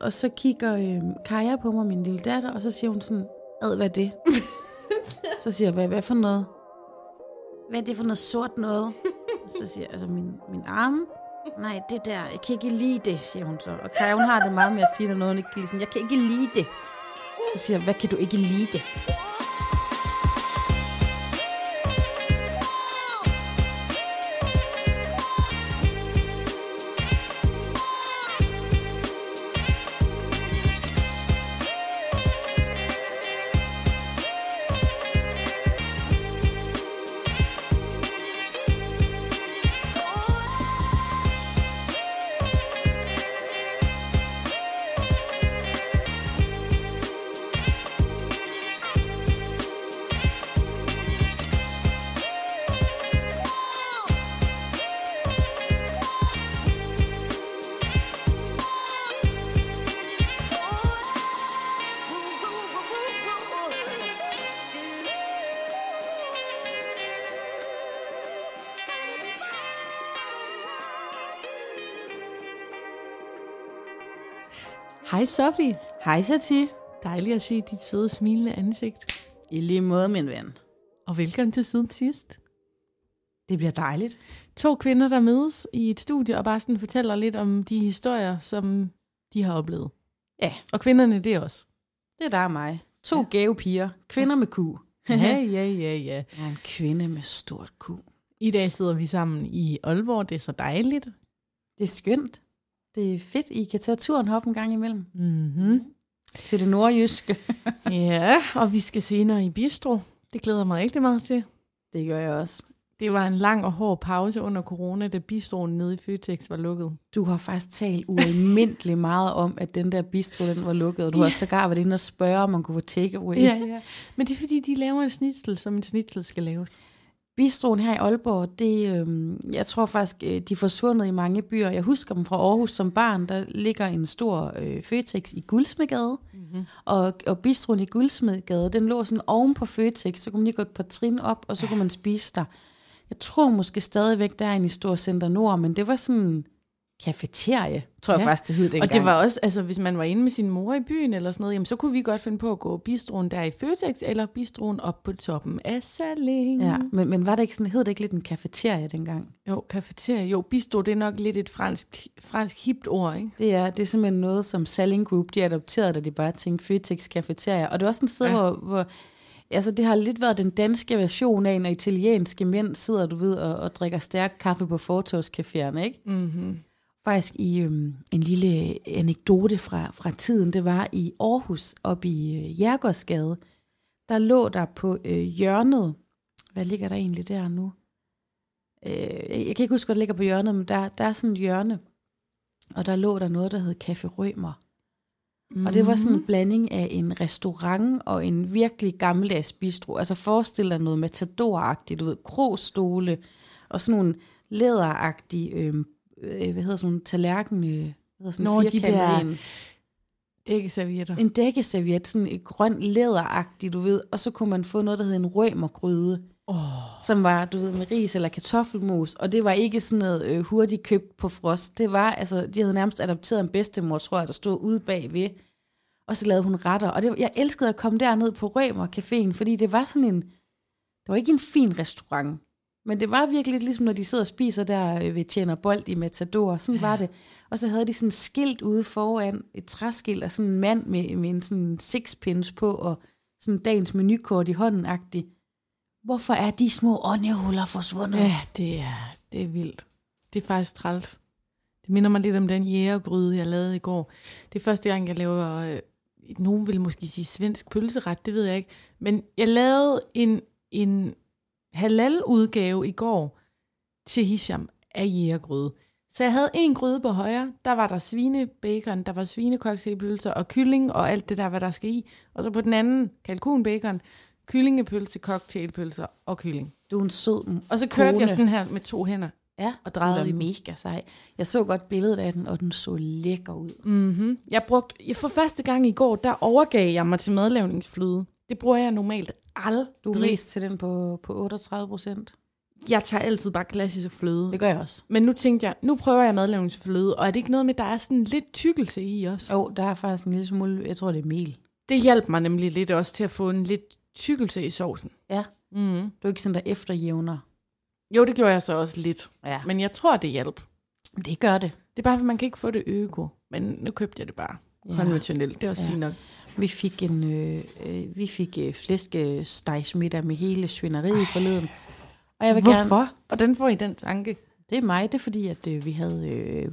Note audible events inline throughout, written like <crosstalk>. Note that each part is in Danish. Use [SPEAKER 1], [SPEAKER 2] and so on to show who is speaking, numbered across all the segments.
[SPEAKER 1] Og så kigger øh, Kaja på mig, min lille datter, og så siger hun sådan, ad, hvad er <laughs> det? så siger jeg, hvad, hvad for noget? Hvad er det for noget sort noget? Så siger jeg, altså min, min arm. Nej, det der, jeg kan ikke lide det, siger hun så. Og Kaja, hun har det meget med at sige, når noget, hun ikke kan lide. Sådan, jeg kan ikke lide det. Så siger jeg, hvad kan du ikke lide det?
[SPEAKER 2] Hej Sofie.
[SPEAKER 1] Hej, Sati.
[SPEAKER 2] Dejligt at se dit søde smilende ansigt.
[SPEAKER 1] I lige måde, min ven.
[SPEAKER 2] Og velkommen til siden sidst.
[SPEAKER 1] Det bliver dejligt.
[SPEAKER 2] To kvinder, der mødes i et studie og bare sådan fortæller lidt om de historier, som de har oplevet.
[SPEAKER 1] Ja.
[SPEAKER 2] Og kvinderne, det er <laughs> også.
[SPEAKER 1] Det er dig og mig. To ja. gave piger. Kvinder med ku. <laughs>
[SPEAKER 2] Ja, ja, ja, ja.
[SPEAKER 1] Jeg er en kvinde med stort ku.
[SPEAKER 2] I dag sidder vi sammen i Aalborg. Det er så dejligt.
[SPEAKER 1] Det er skønt. Det er fedt, I kan tage turen op en gang imellem.
[SPEAKER 2] Mm-hmm.
[SPEAKER 1] Til det nordjyske.
[SPEAKER 2] Ja, og vi skal senere i Bistro. Det glæder jeg mig rigtig meget til.
[SPEAKER 1] <laughs> Det gør jeg også.
[SPEAKER 2] Det var en lang og hård pause under corona, da bistroen nede i Føtex var lukket.
[SPEAKER 1] Du har faktisk talt ualmindelig meget om, at den der bistro, den var lukket. Og du ja. har sågar været inde og spørge, om man kunne få takeaway.
[SPEAKER 2] Ja, ja. Men det er fordi, de laver en snitsel, som en snitsel skal laves.
[SPEAKER 1] Bistroen her i Aalborg, det, øhm, jeg tror faktisk, øh, de er forsvundet i mange byer. Jeg husker dem fra Aarhus som barn. Der ligger en stor øh, Føtex i Guldsmedgade.
[SPEAKER 2] Mhm.
[SPEAKER 1] Mm-hmm. Og, og bistroen i Guldsmedgade, den lå sådan oven på Føtex. Så kunne man lige gå et par trin op, og så kunne man spise der. Jeg tror måske stadigvæk, der er en i Stor Center Nord, men det var sådan en kafeterie, tror jeg
[SPEAKER 2] Ja.
[SPEAKER 1] faktisk, det hed dengang.
[SPEAKER 2] Og det var også, altså hvis man var inde med sin mor i byen eller sådan noget, jamen, så kunne vi godt finde på at gå bistroen der i Føtex, eller bistroen op på toppen af Salling.
[SPEAKER 1] Ja, men, men var det ikke sådan, hed det ikke lidt en kafeterie dengang?
[SPEAKER 2] Jo, kafeteria. Jo, bistro, det er nok lidt et fransk, fransk hipt ord, ikke?
[SPEAKER 1] Det er, det er simpelthen noget, som Salling Group, de adopterede, da de bare tænkte Føtex Cafeteria. Og det er også sådan et sted,
[SPEAKER 2] Ja.
[SPEAKER 1] ja. hvor, hvor altså, det har lidt været den danske version af, når italienske mænd sidder, du ved, og, og drikker stærk kaffe på fortovscaféerne, ikke? Mhm.
[SPEAKER 2] Mm-hmm.
[SPEAKER 1] Faktisk i øhm, en lille anekdote fra, fra tiden, det var i Aarhus, oppe i øh, Jærgårdsgade, der lå der på øh, hjørnet, hvad ligger der egentlig der nu? Øh, jeg jeg kan ikke huske, hvad der ligger på hjørnet, men der, der er sådan et hjørne, og der lå der noget, der hed Café Rømer.
[SPEAKER 2] Mm.
[SPEAKER 1] Mm-hmm. Og det var
[SPEAKER 2] Mhm.
[SPEAKER 1] sådan en blanding af en restaurant og en virkelig gammeldags bistro. Altså forestil dig noget matadoragtigt, du ved, krogstole og sådan nogle læderagtige, øh, øh, hvad hedder sådan nogle tallerken, øh, hvad hedder sådan
[SPEAKER 2] Nå,
[SPEAKER 1] en
[SPEAKER 2] de
[SPEAKER 1] firkantet
[SPEAKER 2] der-
[SPEAKER 1] en,
[SPEAKER 2] Æggeservietter.
[SPEAKER 1] en dækkeserviet, sådan et grøn læderagtigt, du ved, og så kunne man få noget, der hed en rømergryde,
[SPEAKER 2] Åh,
[SPEAKER 1] som var, du ved, med ris eller kartoffelmos, og det var ikke sådan noget øh, hurtigt købt på frost. Det var, altså, de havde nærmest adopteret en bedstemor, tror jeg, der stod ude bagved, og så lavede hun retter. Og det, jeg elskede at komme derned på Rømer Caféen, fordi det var sådan en, det var ikke en fin restaurant, men det var virkelig lidt ligesom, når de sidder og spiser der øh, ved Tjener Bold i Matador, sådan var det. Og så havde de sådan et skilt ude foran, et træskilt, og sådan en mand med, med en sådan sixpence på, og sådan dagens menukort i hånden -agtig. Hvorfor er de små åndehuller forsvundet?
[SPEAKER 2] ja, det er, det er vildt. Det er faktisk træls. Det minder mig lidt om den jægergryde, jeg lavede i går. Det er første gang, jeg laver, øh, nogen vil måske sige svensk pølseret, det ved jeg ikke. Men jeg lavede en, en halal-udgave i går til Hisham af jægergryde. Så jeg havde en gryde på højre, der var der svinebacon, der var svinecocktailpølser og kylling og alt det der, hvad der skal i. Og så på den anden, kalkunbacon, kyllingepølse, cocktailpølser og kylling.
[SPEAKER 1] Du er en sød
[SPEAKER 2] Og så kørte
[SPEAKER 1] Kone.
[SPEAKER 2] jeg sådan her med to hænder.
[SPEAKER 1] ja,
[SPEAKER 2] og drejede i
[SPEAKER 1] den
[SPEAKER 2] dem.
[SPEAKER 1] var mega sej. Jeg så godt billedet af den, og den så lækker ud.
[SPEAKER 2] Mm-hmm. Jeg brugte, jeg- for første gang i går, der overgav jeg mig til madlavningsflyde. Det bruger jeg normalt aldrig.
[SPEAKER 1] Du er mest til den på, på 38 procent.
[SPEAKER 2] Jeg tager altid bare klassisk fløde.
[SPEAKER 1] Det gør jeg også.
[SPEAKER 2] Men nu tænkte jeg, nu prøver jeg madlavningsfløde, og er det ikke noget med, der er sådan lidt tykkelse i også?
[SPEAKER 1] Jo, der er faktisk en lille smule, jeg tror det er mel.
[SPEAKER 2] Det hjalp mig nemlig lidt også til at få en lidt tykkelse i sovsen.
[SPEAKER 1] Ja.
[SPEAKER 2] Mm.
[SPEAKER 1] Du er ikke sådan, der efterjævner.
[SPEAKER 2] Jo, det gjorde jeg så også lidt,
[SPEAKER 1] Ja,
[SPEAKER 2] men jeg tror, det hjalp.
[SPEAKER 1] men det gør det.
[SPEAKER 2] Det er bare, at man kan ikke få det øko, men nu købte jeg det bare ja.
[SPEAKER 1] Ja.
[SPEAKER 2] konventionelt. Det er også
[SPEAKER 1] Ja.
[SPEAKER 2] ja. fint nok.
[SPEAKER 1] Vi fik en øh, øh, vi fik øh, flæskestegsmiddag med hele svineriet forleden. Og jeg vil gerne...
[SPEAKER 2] Hvorfor? Hvordan får I den tanke?
[SPEAKER 1] Det er mig, det er fordi, at øh, vi havde øh,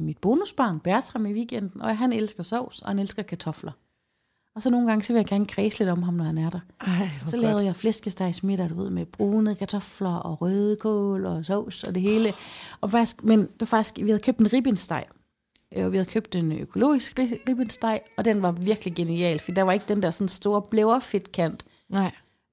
[SPEAKER 1] mit bonusbarn Bertram i weekenden, og han elsker sovs, og han elsker kartofler. Og så nogle gange, så vil jeg gerne kredse lidt om ham, når han er der.
[SPEAKER 2] Ej,
[SPEAKER 1] Så lavede jeg flæskestegsmiddag, du ved, med brune kartofler og røde kål og sovs og det hele. Og faktisk, men det var faktisk, vi havde købt en ribbensteg. Øh, Og vi havde købt en økologisk ri- ribbensteg, og den var virkelig genial, for der var ikke den der sådan store blæverfedtkant,
[SPEAKER 2] Nej.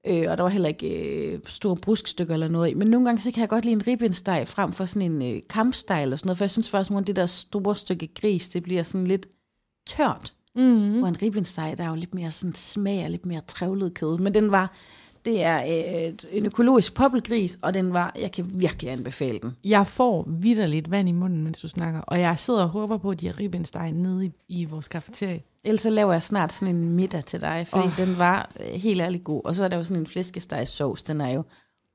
[SPEAKER 1] øh, og der var heller ikke øh, store bruskstykker eller noget i. Men nogle gange, så kan jeg godt lide en ribbensteg frem for sådan en øh, kampsteg eller sådan noget, for jeg synes faktisk, at det der store stykke gris, det bliver sådan lidt tørt.
[SPEAKER 2] Mm-hmm.
[SPEAKER 1] Hvor en ribbensteg, der er jo lidt mere sådan smag og lidt mere trævlet kød. Men den var, det er øh, et- en økologisk poppelgris, og den var, jeg kan virkelig anbefale den.
[SPEAKER 2] Jeg får vidderligt vand i munden, mens du snakker, og jeg sidder og håber på, at de har ribbensteg nede i, i vores kafeterie.
[SPEAKER 1] Ellers så laver jeg snart sådan en middag til dig, fordi oh.
[SPEAKER 2] Åh.
[SPEAKER 1] den var øh, helt ærlig god. Og så er der jo sådan en flæskestegsovs, den er jo...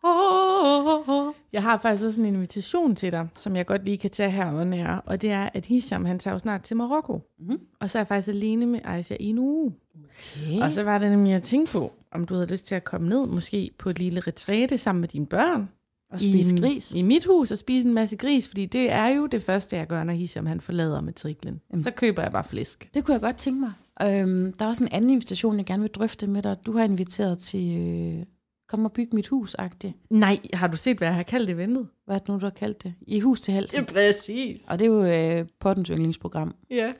[SPEAKER 1] Åh, åh, åh, åh.
[SPEAKER 2] Jeg har faktisk også en invitation til dig, som jeg godt lige kan tage her og nære, og det er, at Hisham, han tager jo snart til Marokko.
[SPEAKER 1] Mhm.
[SPEAKER 2] Og så er jeg faktisk alene med Aisha i en uge.
[SPEAKER 1] Okay.
[SPEAKER 2] Og så var det nemlig, jeg tænkte på, om du havde lyst til at komme ned, måske på et lille retræte sammen med dine børn.
[SPEAKER 1] Og spise
[SPEAKER 2] i, en-
[SPEAKER 1] gris.
[SPEAKER 2] I mit hus og spise en masse gris, fordi det er jo det første, jeg gør, når Hisham han forlader matriklen.
[SPEAKER 1] Jamen.
[SPEAKER 2] Så køber jeg bare flæsk.
[SPEAKER 1] Det kunne jeg godt tænke mig. Øhm, der er også en anden invitation, jeg gerne vil drøfte med dig. Du har inviteret til... Øh, kom og byg mit hus-agtigt.
[SPEAKER 2] Nej, har du set, hvad jeg har kaldt eventet?
[SPEAKER 1] Hvad er det nu, du har kaldt det? I hus til halsen.
[SPEAKER 2] præcis.
[SPEAKER 1] Og det er jo øh, pottens yndlingsprogram.
[SPEAKER 2] Ja.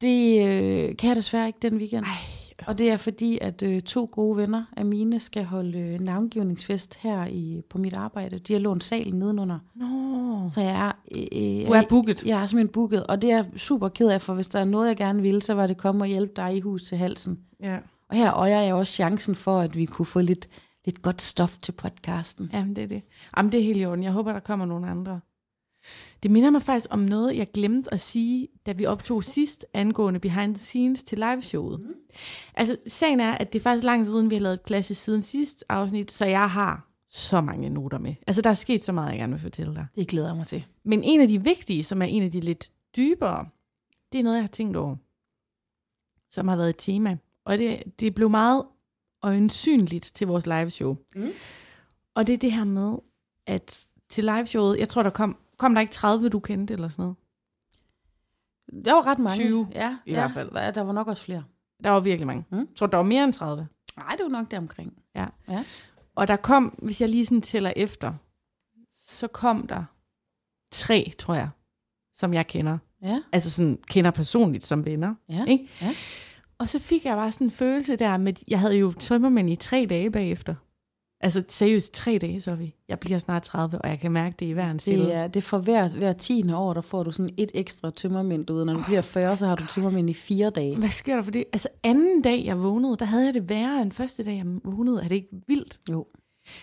[SPEAKER 1] Det øh, kan jeg desværre ikke den weekend.
[SPEAKER 2] Ej,
[SPEAKER 1] Og det er fordi, at øh, to gode venner af mine skal holde øh, navngivningsfest her i, på mit arbejde. De har lånt salen nedenunder.
[SPEAKER 2] no.
[SPEAKER 1] Så jeg er, øh, øh,
[SPEAKER 2] Mm. Du er booket.
[SPEAKER 1] jeg er simpelthen booket. Og det er jeg super ked af, for hvis der er noget, jeg gerne ville, så var det komme og hjælpe dig i hus til halsen.
[SPEAKER 2] Ja.
[SPEAKER 1] Og her øjer jeg også chancen for, at vi kunne få lidt, lidt godt stof til podcasten.
[SPEAKER 2] Jamen, det er det. Jamen, det er helt i orden. Jeg håber, der kommer nogle andre. Det minder mig faktisk om noget, jeg glemte at sige, da vi optog sidst angående behind the scenes til liveshowet. Mm. Altså, sagen er, at det er faktisk lang tid siden, vi har lavet et klasse siden sidst afsnit, så jeg har så mange noter med. Altså, der er sket så meget, jeg gerne vil fortælle dig.
[SPEAKER 1] Det glæder jeg mig til.
[SPEAKER 2] Men en af de vigtige, som er en af de lidt dybere, det er noget, jeg har tænkt over, som har været et tema. Og det, det blev meget øjensynligt til vores liveshow.
[SPEAKER 1] Mm.
[SPEAKER 2] Og det er det her med, at til liveshowet, jeg tror, der kom, kom der ikke 30, du kendte eller sådan noget.
[SPEAKER 1] Der var ret mange.
[SPEAKER 2] 20
[SPEAKER 1] ja,
[SPEAKER 2] i
[SPEAKER 1] ja,
[SPEAKER 2] hvert fald.
[SPEAKER 1] Der var nok også flere.
[SPEAKER 2] Der var virkelig mange.
[SPEAKER 1] Mm.
[SPEAKER 2] Jeg tror, der var mere end 30.
[SPEAKER 1] Nej, det var nok deromkring.
[SPEAKER 2] Og der kom, hvis jeg lige sådan tæller efter, så kom der tre, tror jeg, som jeg kender.
[SPEAKER 1] Ja.
[SPEAKER 2] altså sådan kender personligt som venner.
[SPEAKER 1] Ja,
[SPEAKER 2] Ikke?
[SPEAKER 1] ja.
[SPEAKER 2] Og så fik jeg bare sådan en følelse der med, jeg havde jo tømmermænd i tre dage bagefter. Altså seriøst, tre dage, så vi. Jeg bliver snart 30, og jeg kan mærke det i hver en celle.
[SPEAKER 1] Det er, det er for hver, hver tiende år, der får du sådan et ekstra tømmermænd ud. Når du bliver 40, så har du tømmermænd i fire dage.
[SPEAKER 2] Hvad sker der for det? Altså anden dag, jeg vågnede, der havde jeg det værre end første dag, jeg vågnede. Er det ikke vildt?
[SPEAKER 1] Jo.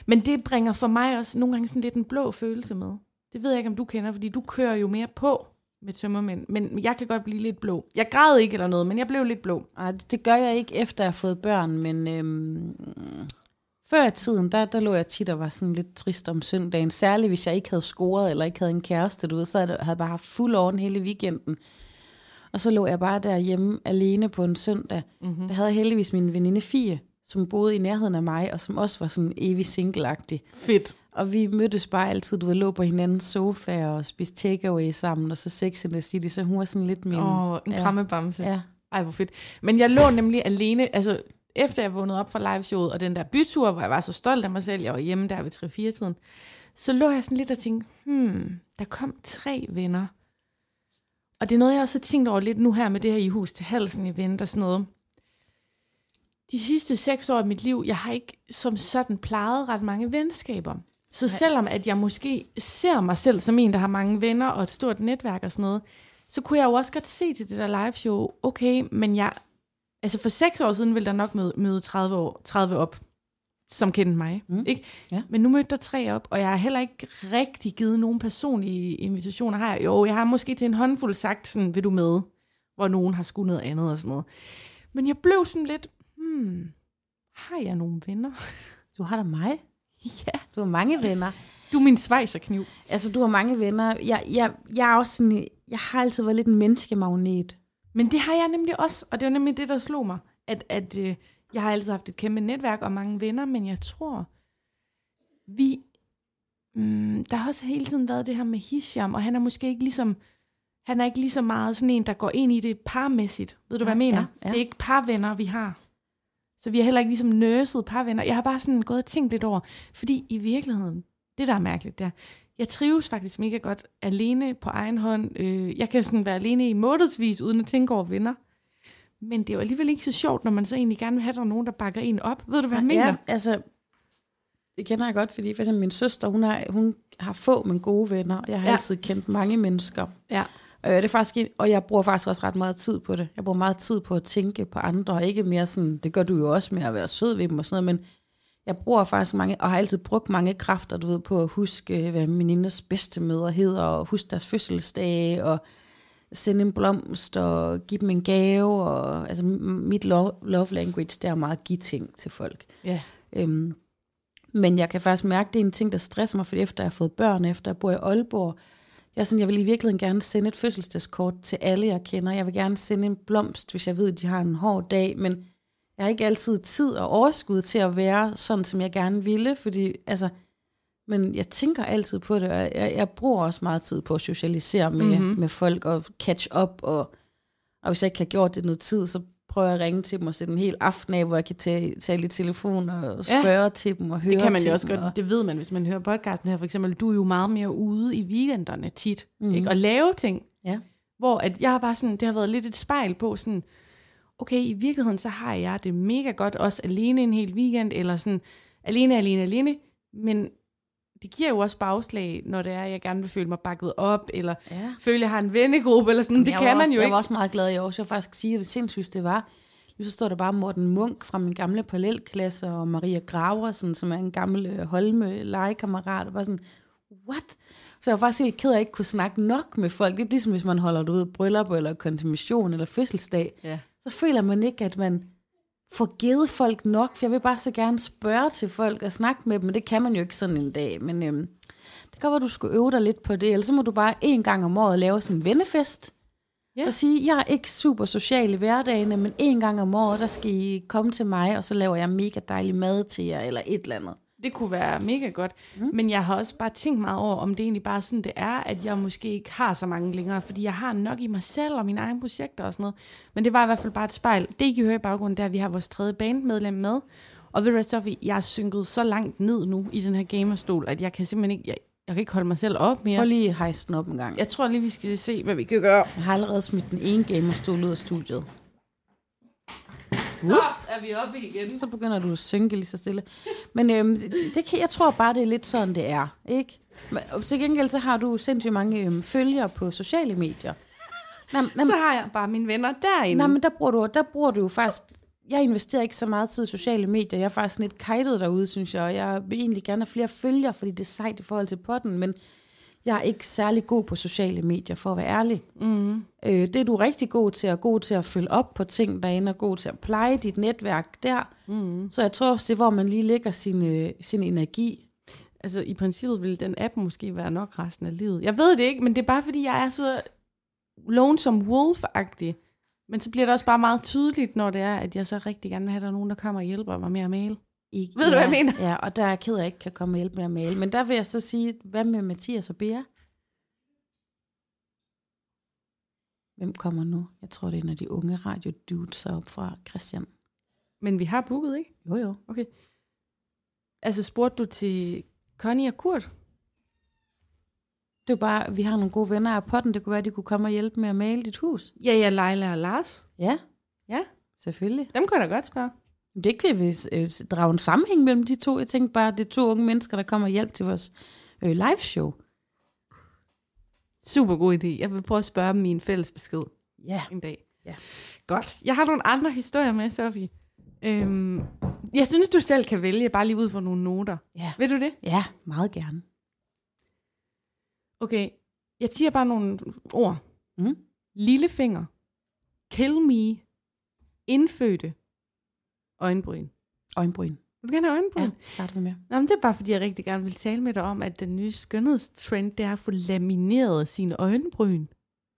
[SPEAKER 2] Men det bringer for mig også nogle gange sådan lidt en blå følelse med. Det ved jeg ikke, om du kender, fordi du kører jo mere på med tømmermænd. Men jeg kan godt blive lidt blå. Jeg græd ikke eller noget, men jeg blev lidt blå.
[SPEAKER 1] Ej, det, det gør jeg ikke efter, jeg har fået børn, men øhm, før i tiden, der, der lå jeg tit og var sådan lidt trist om søndagen. Særligt, hvis jeg ikke havde scoret eller ikke havde en kæreste, du ved, så havde jeg havde jeg bare haft fuld oven hele weekenden. Og så lå jeg bare derhjemme alene på en søndag. Mm-hmm. Der havde jeg heldigvis min veninde Fie, som boede i nærheden af mig, og som også var sådan evig single
[SPEAKER 2] Fedt.
[SPEAKER 1] Og vi mødtes bare altid, du ved, lå på hinandens sofa og spiste takeaway sammen, og så Sex and the City, så hun var sådan lidt min...
[SPEAKER 2] Åh, en krammebamse.
[SPEAKER 1] Ja,
[SPEAKER 2] Ej, hvor fedt. Men jeg lå nemlig alene, altså efter jeg vågnede op fra liveshowet, og den der bytur, hvor jeg var så stolt af mig selv, jeg var hjemme der ved 3-4-tiden, så lå jeg sådan lidt og tænkte, hmm, der kom tre venner. Og det er noget, jeg også har tænkt over lidt nu her med det her i hus til halsen event og sådan noget. De sidste seks år af mit liv, jeg har ikke som sådan plejet ret mange venskaber. Så selvom at jeg måske ser mig selv som en, der har mange venner og et stort netværk og sådan noget, så kunne jeg jo også godt se til det der live show, okay, men jeg, altså for seks år siden ville der nok møde, møde 30, år, 30 op. som kendte mig.
[SPEAKER 1] Mm.
[SPEAKER 2] Mm. Ikke?
[SPEAKER 1] Ja.
[SPEAKER 2] Ja. Men nu mødte der tre op, og jeg har heller ikke rigtig givet nogen personlige invitationer. Har jeg? Jo, jeg har måske til en håndfuld sagt sådan, vil du med? Hvor nogen har skulle noget andet og sådan noget. Men jeg blev sådan lidt, hmm, har jeg nogle venner? <laughs>
[SPEAKER 1] Du har da mig.
[SPEAKER 2] ja,
[SPEAKER 1] Du har mange venner.
[SPEAKER 2] du er min svejserkniv.
[SPEAKER 1] Altså, du har mange venner. Jeg, jeg, jeg, er også sådan, jeg har altid været lidt en menneskemagnet.
[SPEAKER 2] Men det har jeg nemlig også, og det var nemlig det, der slog mig, at, at øh, jeg har altid haft et kæmpe netværk og mange venner, men jeg tror, vi... Mm, der har også hele tiden været det her med Hisham, og han er måske ikke ligesom... Han er ikke lige så meget sådan en, der går ind i det parmæssigt. Ved du, hvad jeg
[SPEAKER 1] Ja,
[SPEAKER 2] mener?
[SPEAKER 1] ja, ja.
[SPEAKER 2] Det er ikke parvenner, vi har. Så vi har heller ikke ligesom nørset parvenner. Jeg har bare sådan gået og tænkt lidt over, fordi i virkeligheden, det der er mærkeligt, der, jeg trives faktisk mega godt alene på egen hånd. Øh, jeg kan sådan være alene i månedsvis, uden at tænke over venner. Men det er jo alligevel ikke så sjovt, når man så egentlig gerne vil have, at der er nogen, der bakker en op. Ved du, hvad jeg mener?
[SPEAKER 1] Ja, altså, det kender jeg godt, fordi for eksempel min søster, hun har, hun har få, men gode venner, og jeg har ja.
[SPEAKER 2] Ja.
[SPEAKER 1] altid kendt mange mennesker.
[SPEAKER 2] ja.
[SPEAKER 1] Øh, det er faktisk, en- og jeg bruger faktisk også ret meget tid på det. Jeg bruger meget tid på at tænke på andre, og ikke mere sådan, det gør du jo også med at være sød ved dem og sådan noget, men jeg bruger faktisk mange, og har altid brugt mange kræfter, du ved, på at huske, øh, hvad menindes bedste møder hedder, og huske deres fødselsdage, og sende en blomst, og give dem en gave, og altså m- mit love, love language, det er meget at give ting til folk.
[SPEAKER 2] ja.
[SPEAKER 1] Øhm, men jeg kan faktisk mærke, at det er en ting, der stresser mig, fordi efter jeg har fået børn, efter jeg bor i Aalborg, jeg, er sådan, jeg vil i virkeligheden gerne sende et fødselsdagskort til alle, jeg kender. Jeg vil gerne sende en blomst, hvis jeg ved, at de har en hård dag, men jeg har ikke altid tid og overskud til at være sådan, som jeg gerne ville, fordi altså, men jeg tænker altid på det, og jeg, jeg bruger også meget tid på at socialisere med, mm-hmm. med folk og catch up, og, og hvis jeg ikke har gjort det noget tid, så prøver jeg at ringe til dem og sætte en hel aften af, hvor jeg kan tage, tale i telefon og
[SPEAKER 2] Ja.
[SPEAKER 1] spørge ja. til dem og høre
[SPEAKER 2] Det kan man
[SPEAKER 1] til
[SPEAKER 2] jo også
[SPEAKER 1] dem, og-
[SPEAKER 2] godt, det ved man, hvis man hører podcasten her. For eksempel, du er jo meget mere ude i weekenderne tit, mm. ikke? og lave ting.
[SPEAKER 1] Mhm. Ja.
[SPEAKER 2] Hvor at jeg har bare sådan, det har været lidt et spejl på sådan, okay, i virkeligheden så har jeg det mega godt, også alene en hel weekend, eller sådan alene, alene, alene. Men det giver jo også bagslag, når det er, at jeg gerne vil føle mig bakket op, eller
[SPEAKER 1] Ja.
[SPEAKER 2] føle, at jeg har en vennegruppe, eller sådan. Det
[SPEAKER 1] Jeg var
[SPEAKER 2] kan man
[SPEAKER 1] også,
[SPEAKER 2] jo
[SPEAKER 1] Jeg var
[SPEAKER 2] ikke.
[SPEAKER 1] også meget glad i år, så jeg vil faktisk sige, at det sindssygt det var. Nu så står der bare Morten Munk fra min gamle parallelklasse, og Maria Graversen, som er en gammel øh, Holme legekammerat, og bare sådan, what? Så jeg var faktisk helt ked af, at jeg ikke kunne snakke nok med folk. Det er ligesom, hvis man holder det ud i bryllup, eller konfirmation, eller fødselsdag.
[SPEAKER 2] Ja.
[SPEAKER 1] Så føler man ikke, at man får givet folk nok, for jeg vil bare så gerne spørge til folk og snakke med dem, men det kan man jo ikke sådan en dag. Men øhm, det kan godt være, du skulle øve dig lidt på det, ellers så må du bare en gang om året lave sådan en vennefest,
[SPEAKER 2] Ja.
[SPEAKER 1] og sige, jeg er ikke super social i hverdagene, men en gang om året, der skal I komme til mig, og så laver jeg mega dejlig mad til jer, eller et eller andet.
[SPEAKER 2] Det kunne være mega godt. Mm. Men jeg har også bare tænkt meget over, om det egentlig bare sådan, det er, at jeg måske ikke har så mange længere, fordi jeg har nok i mig selv og mine egne projekter og sådan noget. Men det var i hvert fald bare et spejl. Det, I kan høre i baggrunden, det er, at vi har vores tredje bandmedlem med. Og ved du hvad, Sofie, jeg er synket så langt ned nu i den her gamerstol, at jeg kan simpelthen ikke, jeg, jeg kan ikke holde mig selv op
[SPEAKER 1] Prøv
[SPEAKER 2] mere.
[SPEAKER 1] lige at hejse den op en gang.
[SPEAKER 2] Jeg tror lige, vi skal se, hvad vi kan gøre.
[SPEAKER 1] Jeg har allerede smidt den ene gamerstol ud af studiet.
[SPEAKER 2] Så er vi oppe igen.
[SPEAKER 1] Så begynder du at synke lige så stille. Men øhm, det, det kan, jeg tror bare, det er lidt sådan, det er. Ikke? Men, og til gengæld så har du sindssygt mange øhm, følgere på sociale medier. Nå, men- nå,
[SPEAKER 2] Så har jeg bare mine venner derinde.
[SPEAKER 1] Nej, men der bruger, du, der bruger du jo faktisk... Jeg investerer ikke så meget tid i sociale medier. Jeg er faktisk sådan lidt kajtet derude, synes jeg. Og jeg vil egentlig gerne have flere følgere, fordi det er sejt i forhold til potten, men jeg er ikke særlig god på sociale medier, for at være ærlig. Mm.
[SPEAKER 2] Mm-hmm.
[SPEAKER 1] Øh, det er du rigtig god til, og god til at følge op på ting derinde, og god til at pleje dit netværk der.
[SPEAKER 2] Mm-hmm.
[SPEAKER 1] Mm. Så jeg tror også, det er, hvor man lige lægger sin, øh, sin energi.
[SPEAKER 2] Altså i princippet ville den app måske være nok resten af livet. Jeg ved det ikke, men det er bare fordi, jeg er så lonesome wolf-agtig. Men så bliver det også bare meget tydeligt, når det er, at jeg så rigtig gerne vil have, at der er nogen, der kommer og hjælper mig med at male.
[SPEAKER 1] I,
[SPEAKER 2] Ved du, hvad jeg mener?
[SPEAKER 1] Ja, og der er jeg ked af, at jeg ikke kan komme og hjælpe med at male. Men der vil jeg så sige, hvad med Mathias og Bea? Hvem kommer nu? Jeg tror, det er når de unge radio dudes op fra Christian.
[SPEAKER 2] Men vi har booket, ikke?
[SPEAKER 1] Jo, jo.
[SPEAKER 2] Okay. Altså spurgte du til Connie og Kurt?
[SPEAKER 1] Det er bare, vi har nogle gode venner af potten. Det kunne være, at de kunne komme og hjælpe med at male dit hus.
[SPEAKER 2] Ja, ja, Leila og Lars.
[SPEAKER 1] Ja,
[SPEAKER 2] Ja,
[SPEAKER 1] selvfølgelig.
[SPEAKER 2] dem kunne jeg da godt spørge.
[SPEAKER 1] Men Det er ikke, fordi vi øh, drage en sammenhæng mellem de to. Jeg tænkte bare, at det er to unge mennesker, der kommer og hjælper til vores øh, liveshow.
[SPEAKER 2] Super god idé. Jeg vil prøve at spørge dem i en fælles besked.
[SPEAKER 1] Ja.
[SPEAKER 2] en dag.
[SPEAKER 1] Ja.
[SPEAKER 2] Godt. Jeg har nogle andre historier med, Sofie. Øhm, Jeg synes, du selv kan vælge, bare lige ud fra nogle noter.
[SPEAKER 1] Ja.
[SPEAKER 2] Vil du det?
[SPEAKER 1] Ja, meget gerne.
[SPEAKER 2] Okay, jeg siger bare nogle ord.
[SPEAKER 1] Mm.
[SPEAKER 2] Lillefinger, kill me, indfødte, øjenbryn.
[SPEAKER 1] Øjenbryn.
[SPEAKER 2] Vil du gerne have øjenbryn?
[SPEAKER 1] Ja,
[SPEAKER 2] Ja.
[SPEAKER 1] starter vi med.
[SPEAKER 2] Nå, men det er bare, fordi jeg rigtig gerne vil tale med dig om, at den nye skønhedstrend, det er at få lamineret sine øjenbryn.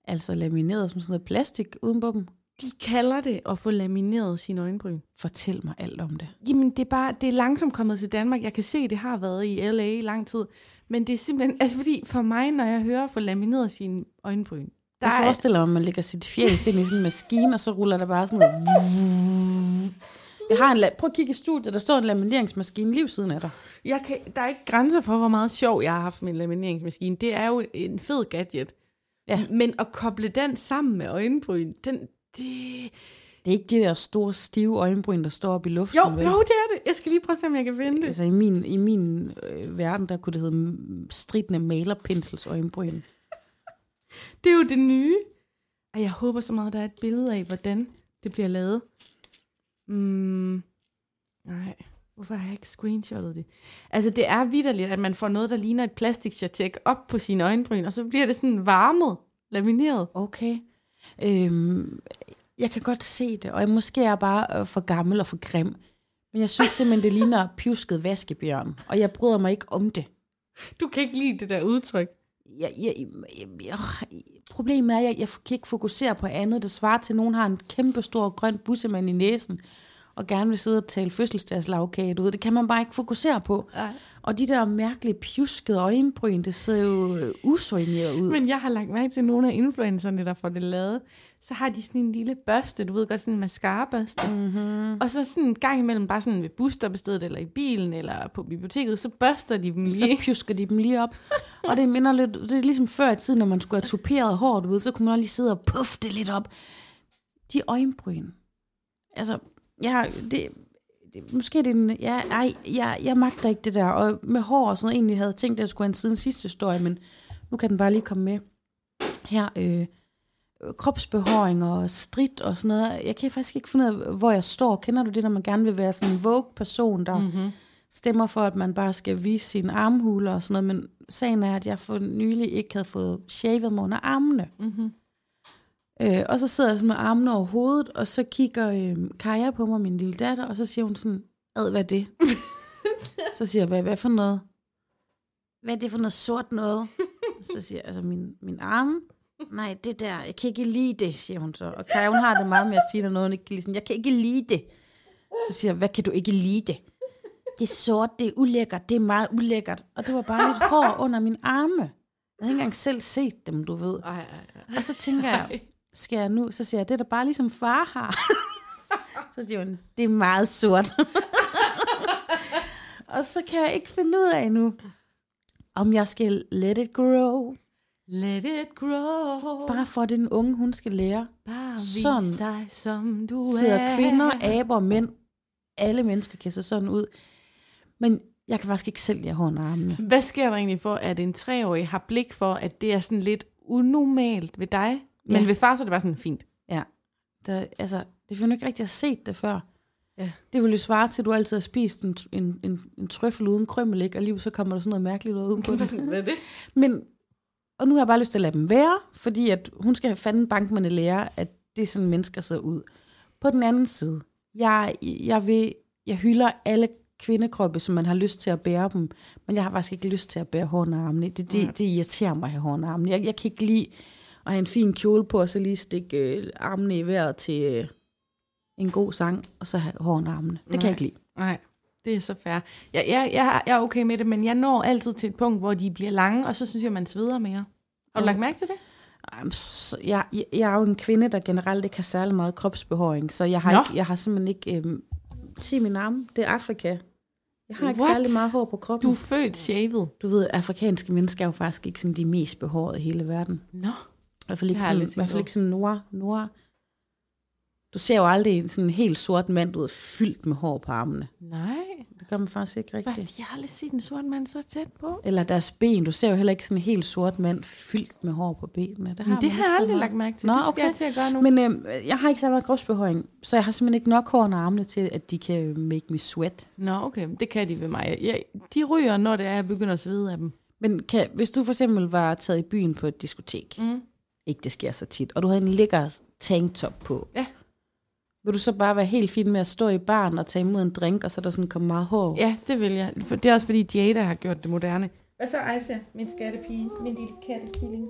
[SPEAKER 1] Altså lamineret som sådan noget plastik uden på dem.
[SPEAKER 2] De kalder det at få lamineret sine øjenbryn.
[SPEAKER 1] Fortæl mig alt om det.
[SPEAKER 2] Jamen, det er bare, det er langsomt kommet til Danmark. Jeg kan se, det har været i LA i lang tid. Men det er simpelthen, altså fordi for mig, når jeg hører få lamineret sine øjenbryn, der
[SPEAKER 1] Jeg
[SPEAKER 2] er,
[SPEAKER 1] forestiller mig, at man lægger sit fjæs ind i sådan en maskine, og så ruller der bare sådan noget. <laughs> Jeg har en la- Prøv at kigge i studiet, der står en lamineringsmaskine lige ved siden af dig.
[SPEAKER 2] jeg kan, der er ikke grænser for, hvor meget sjov jeg har haft med en lamineringsmaskine. Det er jo en fed gadget.
[SPEAKER 1] Ja.
[SPEAKER 2] Men at koble den sammen med øjenbryn, den, det,
[SPEAKER 1] Det er ikke de der store, stive øjenbryn, der står op i luften.
[SPEAKER 2] Jo,
[SPEAKER 1] vel?
[SPEAKER 2] jo, det er det. Jeg skal lige prøve at se, om jeg kan finde det.
[SPEAKER 1] Altså i min, i min øh, verden, der kunne det hedde mm, stridende malerpensels øjenbryn.
[SPEAKER 2] Det er jo det nye. Og jeg håber så meget, der er et billede af, hvordan det bliver lavet. Mm. Nej, hvorfor har jeg ikke screenshotet det? Altså, det er vidderligt, at man får noget, der ligner et plastikchatek op på sine øjenbryn, og så bliver det sådan varmet, lamineret.
[SPEAKER 1] Okay. Øhm, jeg kan godt se det, og jeg, måske er jeg bare øh, for gammel og for grim. Men jeg synes simpelthen, det ligner pjusket vaskebjørn, og jeg bryder mig ikke om det.
[SPEAKER 2] Du kan ikke lide det der udtryk.
[SPEAKER 1] jeg, jeg, jeg, jeg, øh, problemet er, at jeg, jeg kan ikke fokusere på andet. Det svarer til, at nogen har en kæmpe stor grøn bussemand i næsen, og gerne vil sidde og tale fødselsdagslagkage. Du ved, det kan man bare ikke fokusere på.
[SPEAKER 2] Nej.
[SPEAKER 1] Og de der mærkelige pjuskede øjenbryn, det ser jo øh, usoigneret ud.
[SPEAKER 2] <laughs> Men jeg har lagt mærke til nogle af influencerne, der får det lavet. Så har de sådan en lille børste, du ved godt, sådan en mascara-børste. Mm-hmm. Og så sådan en gang imellem, bare sådan ved busstoppestedet, eller i bilen, eller på biblioteket, så børster de dem
[SPEAKER 1] Så
[SPEAKER 2] lige.
[SPEAKER 1] pjusker de dem lige op. Og det minder lidt, det er ligesom før i tiden, når man skulle have tuperet hår, du ved, så kunne man også lige sidde og puffe det lidt op. De øjenbryn. Altså, ja, det, det måske er det en, ja, ej, jeg, jeg magter ikke det der. Og med hår og sådan noget, egentlig havde jeg tænkt, at jeg skulle have en siden sidste historie, men nu kan den bare lige komme med. Her, øh, kropsbehåring og strid og sådan noget. Jeg kan faktisk ikke finde ud af, hvor jeg står. Kender du det, når man gerne vil være sådan en vogue-person,
[SPEAKER 2] Mm.
[SPEAKER 1] der mm-hmm. stemmer for, at man bare skal vise sine armhuler og sådan noget, men sagen er, at jeg for nylig ikke havde fået shavet mig under armene. Mm-hmm. Øh, og så sidder jeg sådan med armene over hovedet, og så kigger øh, Kaja på mig, min lille datter, og så siger hun sådan, ad, hvad er <laughs> det? så siger jeg, hvad, hvad for noget? Hvad er det for noget sort <laughs> noget? Så siger jeg, altså min, min arm, nej, det der, jeg kan ikke lide det, siger hun så. Og Kaja, hun har det meget med at sige, når noget, hun ikke kan lide. Sådan, jeg kan ikke lide det. Så siger jeg, hvad kan du ikke lide det? Det er sort, det er ulækkert, det er meget ulækkert. Og det var bare lidt hår under min arme. Jeg havde ikke engang selv set dem, du ved.
[SPEAKER 2] <laughs> Ej, ej, ej.
[SPEAKER 1] Og så tænker jeg, skal jeg nu? Så siger jeg, det er da bare ligesom far har. <laughs> så siger hun, det er meget sort. <laughs> og så kan jeg ikke finde ud af nu, om jeg skal let it grow.
[SPEAKER 2] Let it grow.
[SPEAKER 1] Bare for at den unge, hun skal lære.
[SPEAKER 2] Bare
[SPEAKER 1] sådan
[SPEAKER 2] vis dig, som du er.
[SPEAKER 1] Sidder kvinder, aber, mænd. Alle mennesker kan se sådan ud. Men jeg kan faktisk ikke selv lide at have under armene.
[SPEAKER 2] Hvad sker der egentlig for, at en treårig har blik for, at det er sådan lidt unormalt ved dig? Men
[SPEAKER 1] Ja.
[SPEAKER 2] ved far, så er det bare sådan fint.
[SPEAKER 1] Ja. Der, altså, det er for, du ikke rigtig har set det før.
[SPEAKER 2] Ja.
[SPEAKER 1] Det ville jo svare til, at du altid har spist en, en, en, en trøffel uden krømmel, ikke? og lige så kommer der sådan noget mærkeligt ud udenpå.
[SPEAKER 2] <laughs> Hvad er det?
[SPEAKER 1] Men, og nu har jeg bare lyst til at lade dem være, fordi at hun skal have fanden bankmande lære, at det er sådan, mennesker ser ud. På den anden side, jeg, jeg, vil, jeg hylder alle kvindekroppe, som man har lyst til at bære dem, men jeg har faktisk ikke lyst til at bære hårene armene. Det, det, det irriterer mig at have hårene armene. Jeg, jeg kan ikke lide at have en fin kjole på, og så lige stikke øh, armene i vejret til øh, en god sang, og så have hårene armene. Det Nej. kan jeg
[SPEAKER 2] Nej.
[SPEAKER 1] ikke lide.
[SPEAKER 2] Nej, det er så fair. Jeg, jeg, jeg, jeg er okay med det, men jeg når altid til et punkt, hvor de bliver lange, og så synes jeg, man sveder mere. Har du lagt mærke til det?
[SPEAKER 1] Jamen, så- Jeg, jeg- jeg er jo en kvinde, der generelt ikke har særlig meget kropsbehåring, så jeg har,
[SPEAKER 2] Nå.
[SPEAKER 1] ikke, jeg har simpelthen ikke... Øhm, se min arm, det er Afrika. Jeg har ikke
[SPEAKER 2] What?
[SPEAKER 1] særlig meget hår på kroppen.
[SPEAKER 2] Du er
[SPEAKER 1] Du,
[SPEAKER 2] født shavet.
[SPEAKER 1] du ved, afrikanske mennesker er jo faktisk ikke sådan de mest behårede i hele verden.
[SPEAKER 2] Nå.
[SPEAKER 1] I hvert fald ikke
[SPEAKER 2] Det har jeg
[SPEAKER 1] sådan,
[SPEAKER 2] aldrig
[SPEAKER 1] i hvert fald
[SPEAKER 2] tænkt
[SPEAKER 1] ikke sådan nord, nord Du ser jo aldrig en sådan helt sort mand ud fyldt med hår på armene.
[SPEAKER 2] Nej.
[SPEAKER 1] Det gør man faktisk ikke
[SPEAKER 2] Hvad,
[SPEAKER 1] rigtigt.
[SPEAKER 2] jeg har aldrig set en sort mand så tæt på.
[SPEAKER 1] Eller deres ben. Du ser jo heller ikke sådan en helt sort mand fyldt med hår på benene. Det har,
[SPEAKER 2] Men det
[SPEAKER 1] man
[SPEAKER 2] har
[SPEAKER 1] ikke
[SPEAKER 2] jeg
[SPEAKER 1] så
[SPEAKER 2] aldrig
[SPEAKER 1] meget.
[SPEAKER 2] lagt mærke til.
[SPEAKER 1] Nå,
[SPEAKER 2] Nå, det skal
[SPEAKER 1] okay.
[SPEAKER 2] jeg til at gøre nu. Men,
[SPEAKER 1] Men øh, jeg har ikke så meget kropsbehøring, så jeg har simpelthen ikke nok hår under armene til, at de kan make me sweat.
[SPEAKER 2] Nå, okay. Det kan de ved mig. Jeg, de ryger, når det er, jeg begynder at svede af dem.
[SPEAKER 1] Men kan, hvis du for eksempel var taget i byen på et diskotek,
[SPEAKER 2] Mm.
[SPEAKER 1] ikke det sker så tit, og du havde en lækker tanktop på,
[SPEAKER 2] Ja.
[SPEAKER 1] vil du så bare være helt fin med at stå i baren og tage imod en drink, og så er der sådan kommet meget hår?
[SPEAKER 2] Ja, det vil jeg. For det er også fordi Jada har gjort det moderne. Hvad så, Aisha? Min skattepige. Min lille kattekilling.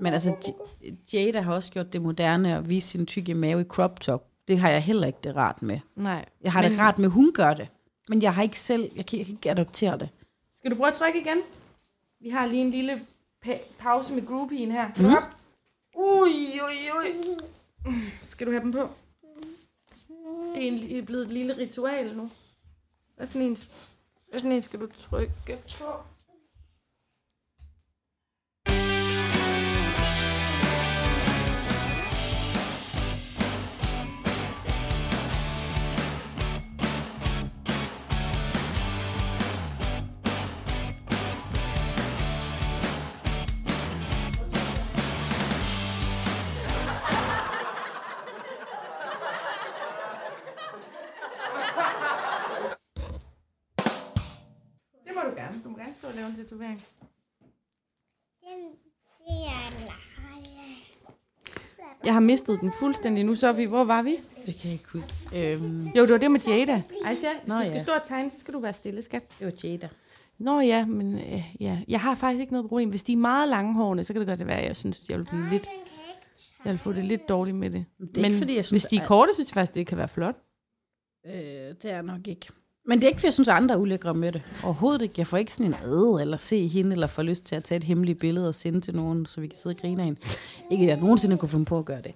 [SPEAKER 1] Men altså, J- Jada har også gjort det moderne at vise sin tykke mave i crop top. Det har jeg heller ikke det rart med.
[SPEAKER 2] Nej.
[SPEAKER 1] Jeg har men... det
[SPEAKER 2] Men-
[SPEAKER 1] rart med, at hun gør det. Men jeg har ikke selv, jeg kan, jeg kan ikke adoptere det.
[SPEAKER 2] Skal du prøve at trykke igen? Vi har lige en lille pa- pause med groupien her. Kom op. Ui, ui, ui. Skal du have dem på? Det er en, li- blevet et lille ritual nu. Hvad for en, hvad for en skal du trykke på? Det må du gerne. Du må gerne stå og lave en tatovering.
[SPEAKER 3] Den der leje.
[SPEAKER 2] Jeg har mistet den fuldstændig nu, Sofie. Hvor var vi?
[SPEAKER 1] Det kan jeg ikke huske. Øhm,
[SPEAKER 2] Jo, det var det med Jada. Aisha, hvis
[SPEAKER 1] Nå,
[SPEAKER 2] du
[SPEAKER 1] ja.
[SPEAKER 2] skal stå og tegne, så skal du være stille, skat.
[SPEAKER 1] det var Jada.
[SPEAKER 2] Nå ja, men øh, ja. jeg har faktisk ikke noget problem. Hvis de er meget langhårende, så kan det godt være, at jeg synes, at jeg vil blive lidt,
[SPEAKER 3] Den kan ikke tage.
[SPEAKER 2] jeg vil få det lidt dårligt med det.
[SPEAKER 1] det er
[SPEAKER 2] men
[SPEAKER 1] ikke, fordi jeg synes,
[SPEAKER 2] hvis de er
[SPEAKER 1] at-
[SPEAKER 2] korte, synes jeg faktisk, det kan være flot.
[SPEAKER 1] Øh, det er nok ikke. Men det er ikke, fordi jeg synes, andre er ulækre med det. Overhovedet ikke. Jeg får ikke sådan en ad, eller se hende, eller får lyst til at tage et hemmeligt billede og sende til nogen, så vi kan sidde og grine af hende. Ikke, at jeg nogensinde kunne finde på at gøre det.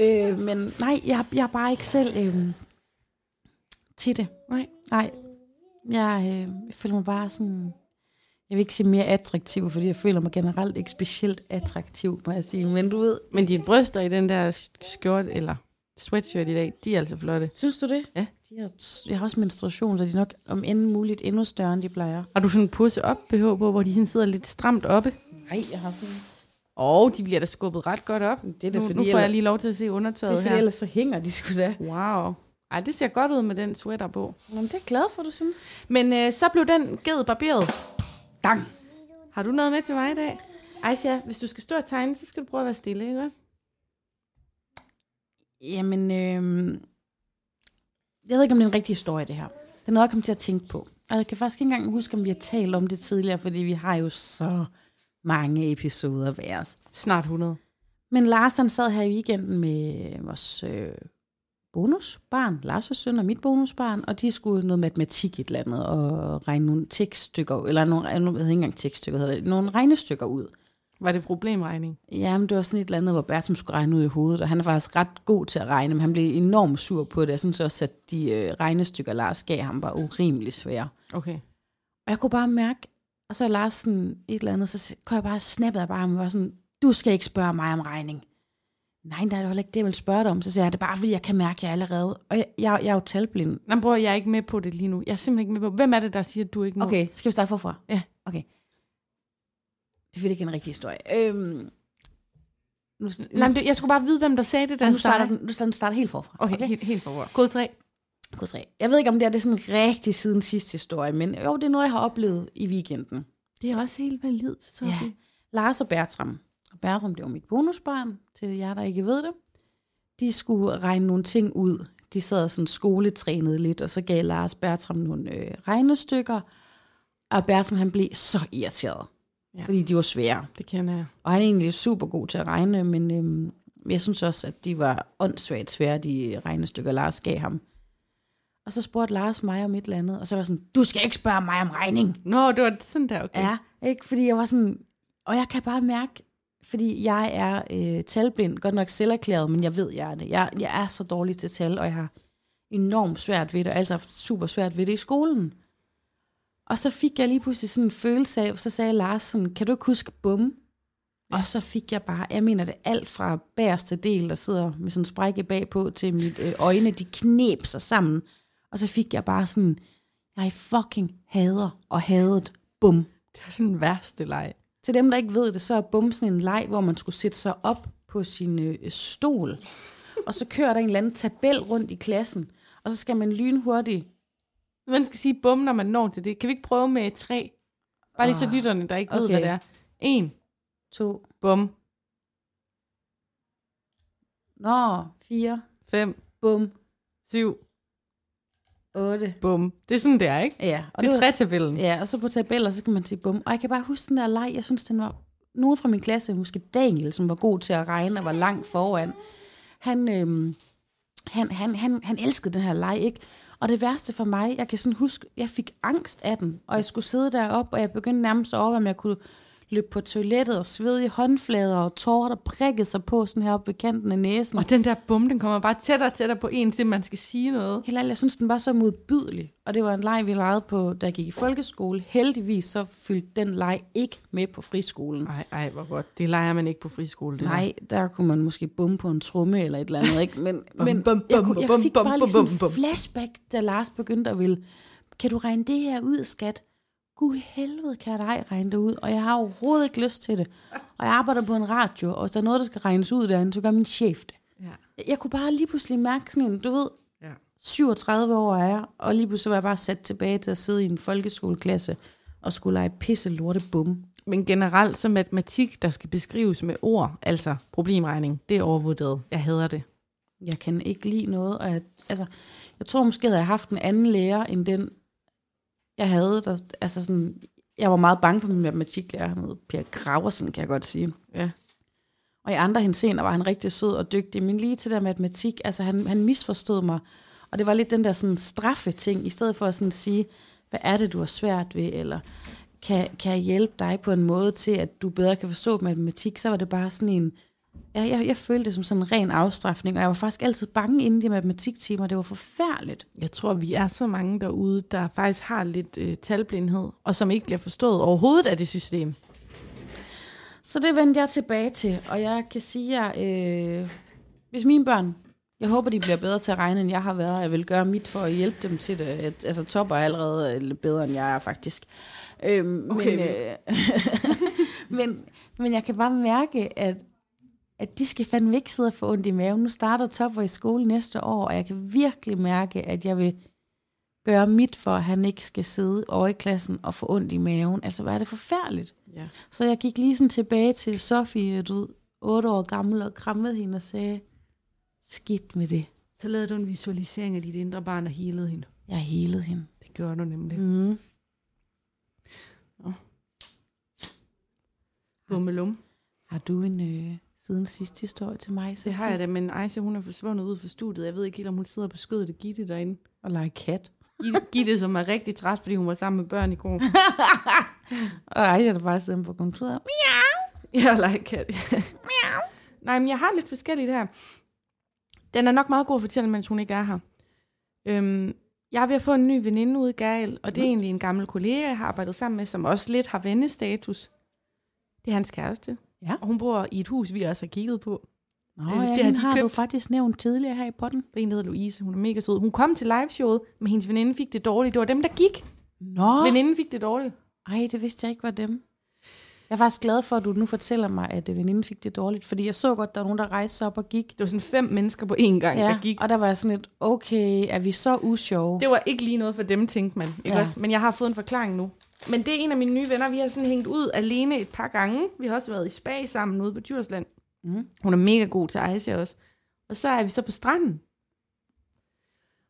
[SPEAKER 1] Øh, men nej, jeg, jeg er bare ikke selv øh, til det.
[SPEAKER 2] Nej.
[SPEAKER 1] Nej. Jeg, øh, jeg føler mig bare sådan... Jeg vil ikke sige mere attraktiv, fordi jeg føler mig generelt ikke specielt attraktiv, må jeg sige. Men du ved...
[SPEAKER 2] Men dine bryster i den der sk- skjort eller sweatshirt i dag, de er altså flotte.
[SPEAKER 1] Synes du det?
[SPEAKER 2] Ja.
[SPEAKER 1] De har, jeg har også menstruation, så de er nok om end muligt endnu større, end de plejer.
[SPEAKER 2] Har du sådan en pusse op BH på, hvor de sådan sidder lidt stramt oppe?
[SPEAKER 1] Nej, jeg har sådan...
[SPEAKER 2] Og de bliver da skubbet ret godt op.
[SPEAKER 1] Det er da
[SPEAKER 2] nu,
[SPEAKER 1] fordi,
[SPEAKER 2] nu får
[SPEAKER 1] eller-
[SPEAKER 2] jeg lige lov til at se
[SPEAKER 1] Det er
[SPEAKER 2] undertøjet
[SPEAKER 1] fordi,
[SPEAKER 2] her.
[SPEAKER 1] ellers så hænger de sgu da.
[SPEAKER 2] Wow. Ej, det ser godt ud med den sweater på.
[SPEAKER 1] Nå, men det er jeg glad for, du synes.
[SPEAKER 2] Men øh, så blev den ged barberet.
[SPEAKER 1] Dang!
[SPEAKER 2] Har du noget med til mig i dag? Aisha, hvis du skal stå og tegne, så skal du prøve at være stille, ikke også?
[SPEAKER 1] Jamen, øh, jeg ved ikke, om det er en rigtig historie, det her. Det er noget, jeg kom til at tænke på. Og jeg kan faktisk ikke engang huske, om vi har talt om det tidligere, fordi vi har jo så mange episoder hver.
[SPEAKER 2] Snart 100.
[SPEAKER 1] Men Lars han sad her i weekenden med vores øh, bonusbarn, Lars' søn og mit bonusbarn, og de skulle noget matematik i et eller andet, og regne nogle tekststykker, eller nogle, jeg ved ikke engang tekststykker, hedder det, nogle regnestykker ud.
[SPEAKER 2] Var det problemregning?
[SPEAKER 1] Jamen, det var sådan et eller andet, hvor Bertram skulle regne ud i hovedet, og han er faktisk ret god til at regne, men han blev enormt sur på det. Jeg synes også, at de øh, regnestykker, Lars gav ham, var urimelig svære.
[SPEAKER 2] Okay.
[SPEAKER 1] Og jeg kunne bare mærke, og så er Lars sådan et eller andet, så s- kunne jeg bare snappet bare ham og var sådan, du skal ikke spørge mig om regning. Nej, nej, det var ikke det, jeg ville spørge dig om. Så sagde jeg, det er bare fordi, jeg kan mærke, at jeg allerede... Og jeg, jeg, jeg er jo talblind.
[SPEAKER 2] Nå, men bror, jeg er ikke med på det lige nu. Jeg er simpelthen ikke med på Hvem er det, der siger, at du ikke må?
[SPEAKER 1] Okay, skal vi starte forfra?
[SPEAKER 2] Ja.
[SPEAKER 1] Okay. Det er fordi, det ikke er en rigtig historie. Øhm, nu, s-
[SPEAKER 2] Nej, men det, jeg skulle bare vide, hvem der sagde det, der
[SPEAKER 1] nu, starter den, nu starter den starter helt forfra.
[SPEAKER 2] Okay, okay. helt, helt for Kode 3.
[SPEAKER 1] Kode tre. Jeg ved ikke, om det er, det er sådan rigtig siden sidste historie, men jo, det er noget, jeg har oplevet i weekenden.
[SPEAKER 2] Det er også helt validt, så
[SPEAKER 1] Ja. Lars og Bertram, og Bertram det var mit bonusbarn, til jer, der ikke ved det, de skulle regne nogle ting ud. De sad sådan skoletrænede lidt, og så gav Lars Bertram nogle øh, regnestykker, og Bertram han blev så irriteret,
[SPEAKER 2] Ja.
[SPEAKER 1] ja. fordi de var svære.
[SPEAKER 2] Det kender jeg.
[SPEAKER 1] Og han er egentlig super god til at regne, men øhm, jeg synes også, at de var åndssvagt svære, de regnestykker, Lars gav ham. Og så spurgte Lars mig om et eller andet, og så var jeg sådan, du skal ikke spørge mig om regning.
[SPEAKER 2] Nå, det var sådan der, okay.
[SPEAKER 1] Ja, ikke? Fordi jeg var sådan, og jeg kan bare mærke, fordi jeg er øh, talblind, godt nok selverklæret, men jeg ved, jeg er det. Jeg, jeg er så dårlig til tal, og jeg har enormt svært ved det, og altså super svært ved det i skolen. Og så fik jeg lige pludselig sådan en følelse af, så sagde Lars sådan, kan du ikke huske bum? Og så fik jeg bare, jeg mener det alt fra bagerste del, der sidder med sådan en sprække bagpå, til mit øh, øjne, de knep sig sammen. Og så fik jeg bare sådan, jeg fucking hader og hadet bum.
[SPEAKER 2] Det er sådan den værste leg.
[SPEAKER 1] Til dem, der ikke ved det, så er bum sådan en leg, hvor man skulle sætte sig op på sin øh, stol, og så kører der en eller anden tabel rundt i klassen, og så skal man lynhurtigt
[SPEAKER 2] Man skal sige bum, når man når til det. Kan vi ikke prøve med tre? Bare lige så
[SPEAKER 1] Ah,
[SPEAKER 2] lytterne, der ikke okay. ved,
[SPEAKER 1] okay.
[SPEAKER 2] hvad det er. En,
[SPEAKER 1] to,
[SPEAKER 2] bum,
[SPEAKER 1] nå, fire,
[SPEAKER 2] fem,
[SPEAKER 1] bum,
[SPEAKER 2] syv,
[SPEAKER 1] otte.
[SPEAKER 2] bum. Det er sådan, det er, ikke?
[SPEAKER 1] Ja, og
[SPEAKER 2] det er
[SPEAKER 1] var-
[SPEAKER 2] tretabellen.
[SPEAKER 1] Ja, og så på tabeller, så kan man sige bum. Og jeg kan bare huske den der leg, jeg synes, den var... Nogen fra min klasse, måske Daniel, som var god til at regne og var langt foran, han, øhm, han, han, han, han elskede den her leg, ikke? Og det værste for mig, jeg kan sådan huske, jeg fik angst af den, og jeg skulle sidde deroppe, og jeg begyndte nærmest at overveje, om jeg kunne løbe på toilettet og svede i håndflader og tårer, der prikkede sig på sådan her oppe ved kanten af næsen.
[SPEAKER 2] Og den der bum, den kommer bare tættere og tættere på en, til man skal sige noget.
[SPEAKER 1] Helt ærligt, jeg synes, den var så modbydelig. Og det var en leg, vi legede på, da jeg gik i folkeskole. Heldigvis så fyldte den leg ikke med på friskolen.
[SPEAKER 2] Nej, nej, hvor godt. Det leger man ikke på friskole. Det
[SPEAKER 1] Nej, der kunne man måske bumme på en tromme eller et eller andet, ikke? Men,
[SPEAKER 2] <laughs> Bum,
[SPEAKER 1] men
[SPEAKER 2] bum,
[SPEAKER 1] jeg,
[SPEAKER 2] bum,
[SPEAKER 1] kunne, jeg
[SPEAKER 2] bum,
[SPEAKER 1] fik
[SPEAKER 2] bum,
[SPEAKER 1] bare
[SPEAKER 2] bum,
[SPEAKER 1] lige sådan
[SPEAKER 2] bum,
[SPEAKER 1] en
[SPEAKER 2] bum.
[SPEAKER 1] flashback, da Lars begyndte at ville, kan du regne det her ud, skat? Gud i helvede, kan jeg da ej regne det ud, og jeg har overhovedet ikke lyst til det. Og jeg arbejder på en radio, og hvis der er noget, der skal regnes ud derinde, så gør min chef det.
[SPEAKER 2] der. Ja.
[SPEAKER 1] Jeg- Jeg kunne bare lige pludselig mærke sådan en, du ved,
[SPEAKER 2] ja.
[SPEAKER 1] 37 år er jeg, og lige pludselig var jeg bare sat tilbage til at sidde i en folkeskoleklasse og skulle lege pisse lorte bum.
[SPEAKER 2] Men generelt så matematik, der skal beskrives med ord, altså problemregning, det er overvurderet. Jeg hader det.
[SPEAKER 1] Jeg kan ikke lide noget, og jeg, altså, jeg tror måske, havde jeg haft en anden lærer, end den, jeg havde. Der, altså sådan, jeg var meget bange for min matematiklærer, han hed Per Graversen, kan jeg godt sige.
[SPEAKER 2] Ja.
[SPEAKER 1] Og i andre henseender var han rigtig sød og dygtig, men lige til der matematik, altså han, han misforstod mig. Og det var lidt den der sådan straffe ting, i stedet for at sådan sige, hvad er det, du har svært ved, eller kan, kan jeg hjælpe dig på en måde til, at du bedre kan forstå matematik, så var det bare sådan en, jeg, jeg, jeg følte det som sådan en ren afstraffning, og jeg var faktisk altid bange inden de matematiktimer, det var forfærdeligt.
[SPEAKER 2] Jeg tror, vi er så mange derude, der faktisk har lidt øh, talblindhed, og som ikke bliver forstået overhovedet af det system.
[SPEAKER 1] Så det vendte jeg tilbage til, og jeg kan sige jer, øh, hvis mine børn, jeg håber, de bliver bedre til at regne, end jeg har været, og jeg vil gøre mit for at hjælpe dem til det. At- Altså, topper er allerede lidt bedre, end jeg er faktisk. Øhm,
[SPEAKER 2] Okay,
[SPEAKER 1] men, øh, <laughs> men, men jeg kan bare mærke, at, at de skal fandme ikke sidde og få ondt i maven. Nu starter topper i skole næste år, og jeg kan virkelig mærke, at jeg vil gøre mit for, at han ikke skal sidde over i klassen og få ondt i maven. Altså, hvad er det forfærdeligt?
[SPEAKER 2] Ja.
[SPEAKER 1] Så jeg gik lige sådan tilbage til Sofie, du ved, 8 år gammel, og krammede hende og sagde, skidt med det.
[SPEAKER 2] Så lavede du en visualisering af dit indre barn og healede hende.
[SPEAKER 1] Jeg helede hende.
[SPEAKER 2] Det gjorde du nemlig. Mm.
[SPEAKER 1] Mm.
[SPEAKER 2] Bummelum.
[SPEAKER 1] Har du en øh, siden sidste historie til mig?
[SPEAKER 2] Det har jeg da, men Aisha, hun er forsvundet ud fra studiet. Jeg ved ikke helt, om hun sidder på skødet af Gitte <laughs> derinde.
[SPEAKER 1] Og lege kat.
[SPEAKER 2] Gitte, Gitte, som er rigtig træt, fordi hun var sammen med børn i går.
[SPEAKER 1] Og ej, jeg er bare siddet på kontoret.
[SPEAKER 2] <laughs> Jeg leger kat. Nej, men jeg har lidt forskelligt her. Den er nok meget god at fortælle, mens hun ikke er her. Øhm, jeg er ved at få en ny veninde ud, Gael, og det er egentlig en gammel kollega, jeg har arbejdet sammen med, som også lidt har vennestatus. Det er hans kæreste.
[SPEAKER 1] Ja.
[SPEAKER 2] Og hun bor i et hus, vi også har kigget på.
[SPEAKER 1] Nå,
[SPEAKER 2] Øh,
[SPEAKER 1] ja,
[SPEAKER 2] det har
[SPEAKER 1] den
[SPEAKER 2] de
[SPEAKER 1] har du
[SPEAKER 2] købt.
[SPEAKER 1] faktisk nævnt tidligere her i potten.
[SPEAKER 2] En der hedder Louise, hun er mega sød. Hun kom til liveshowet, men hendes veninde fik det dårligt. Det var dem, der gik.
[SPEAKER 1] Nå,
[SPEAKER 2] Oh. Veninden fik det dårligt.
[SPEAKER 1] ej, det vidste jeg ikke var dem. Jeg er faktisk glad for, at du nu fortæller mig, at øh, veninden fik det dårligt, fordi jeg så godt, der var nogen, der rejste sig op og gik.
[SPEAKER 2] Det var sådan fem mennesker på én gang, ja. der gik.
[SPEAKER 1] og der var jeg sådan lidt, okay, er vi så usjove?
[SPEAKER 2] Det var ikke lige noget for dem, tænkte man. Ikke
[SPEAKER 1] Ja.
[SPEAKER 2] ja. også? Men jeg har fået en forklaring nu. Men det er en af mine nye venner. Vi har sådan hængt ud alene et par gange. Vi har også været i spa sammen ude på Djursland.
[SPEAKER 1] Mhm.
[SPEAKER 2] Hun er mega god til Aisha også. Og så er vi så på stranden.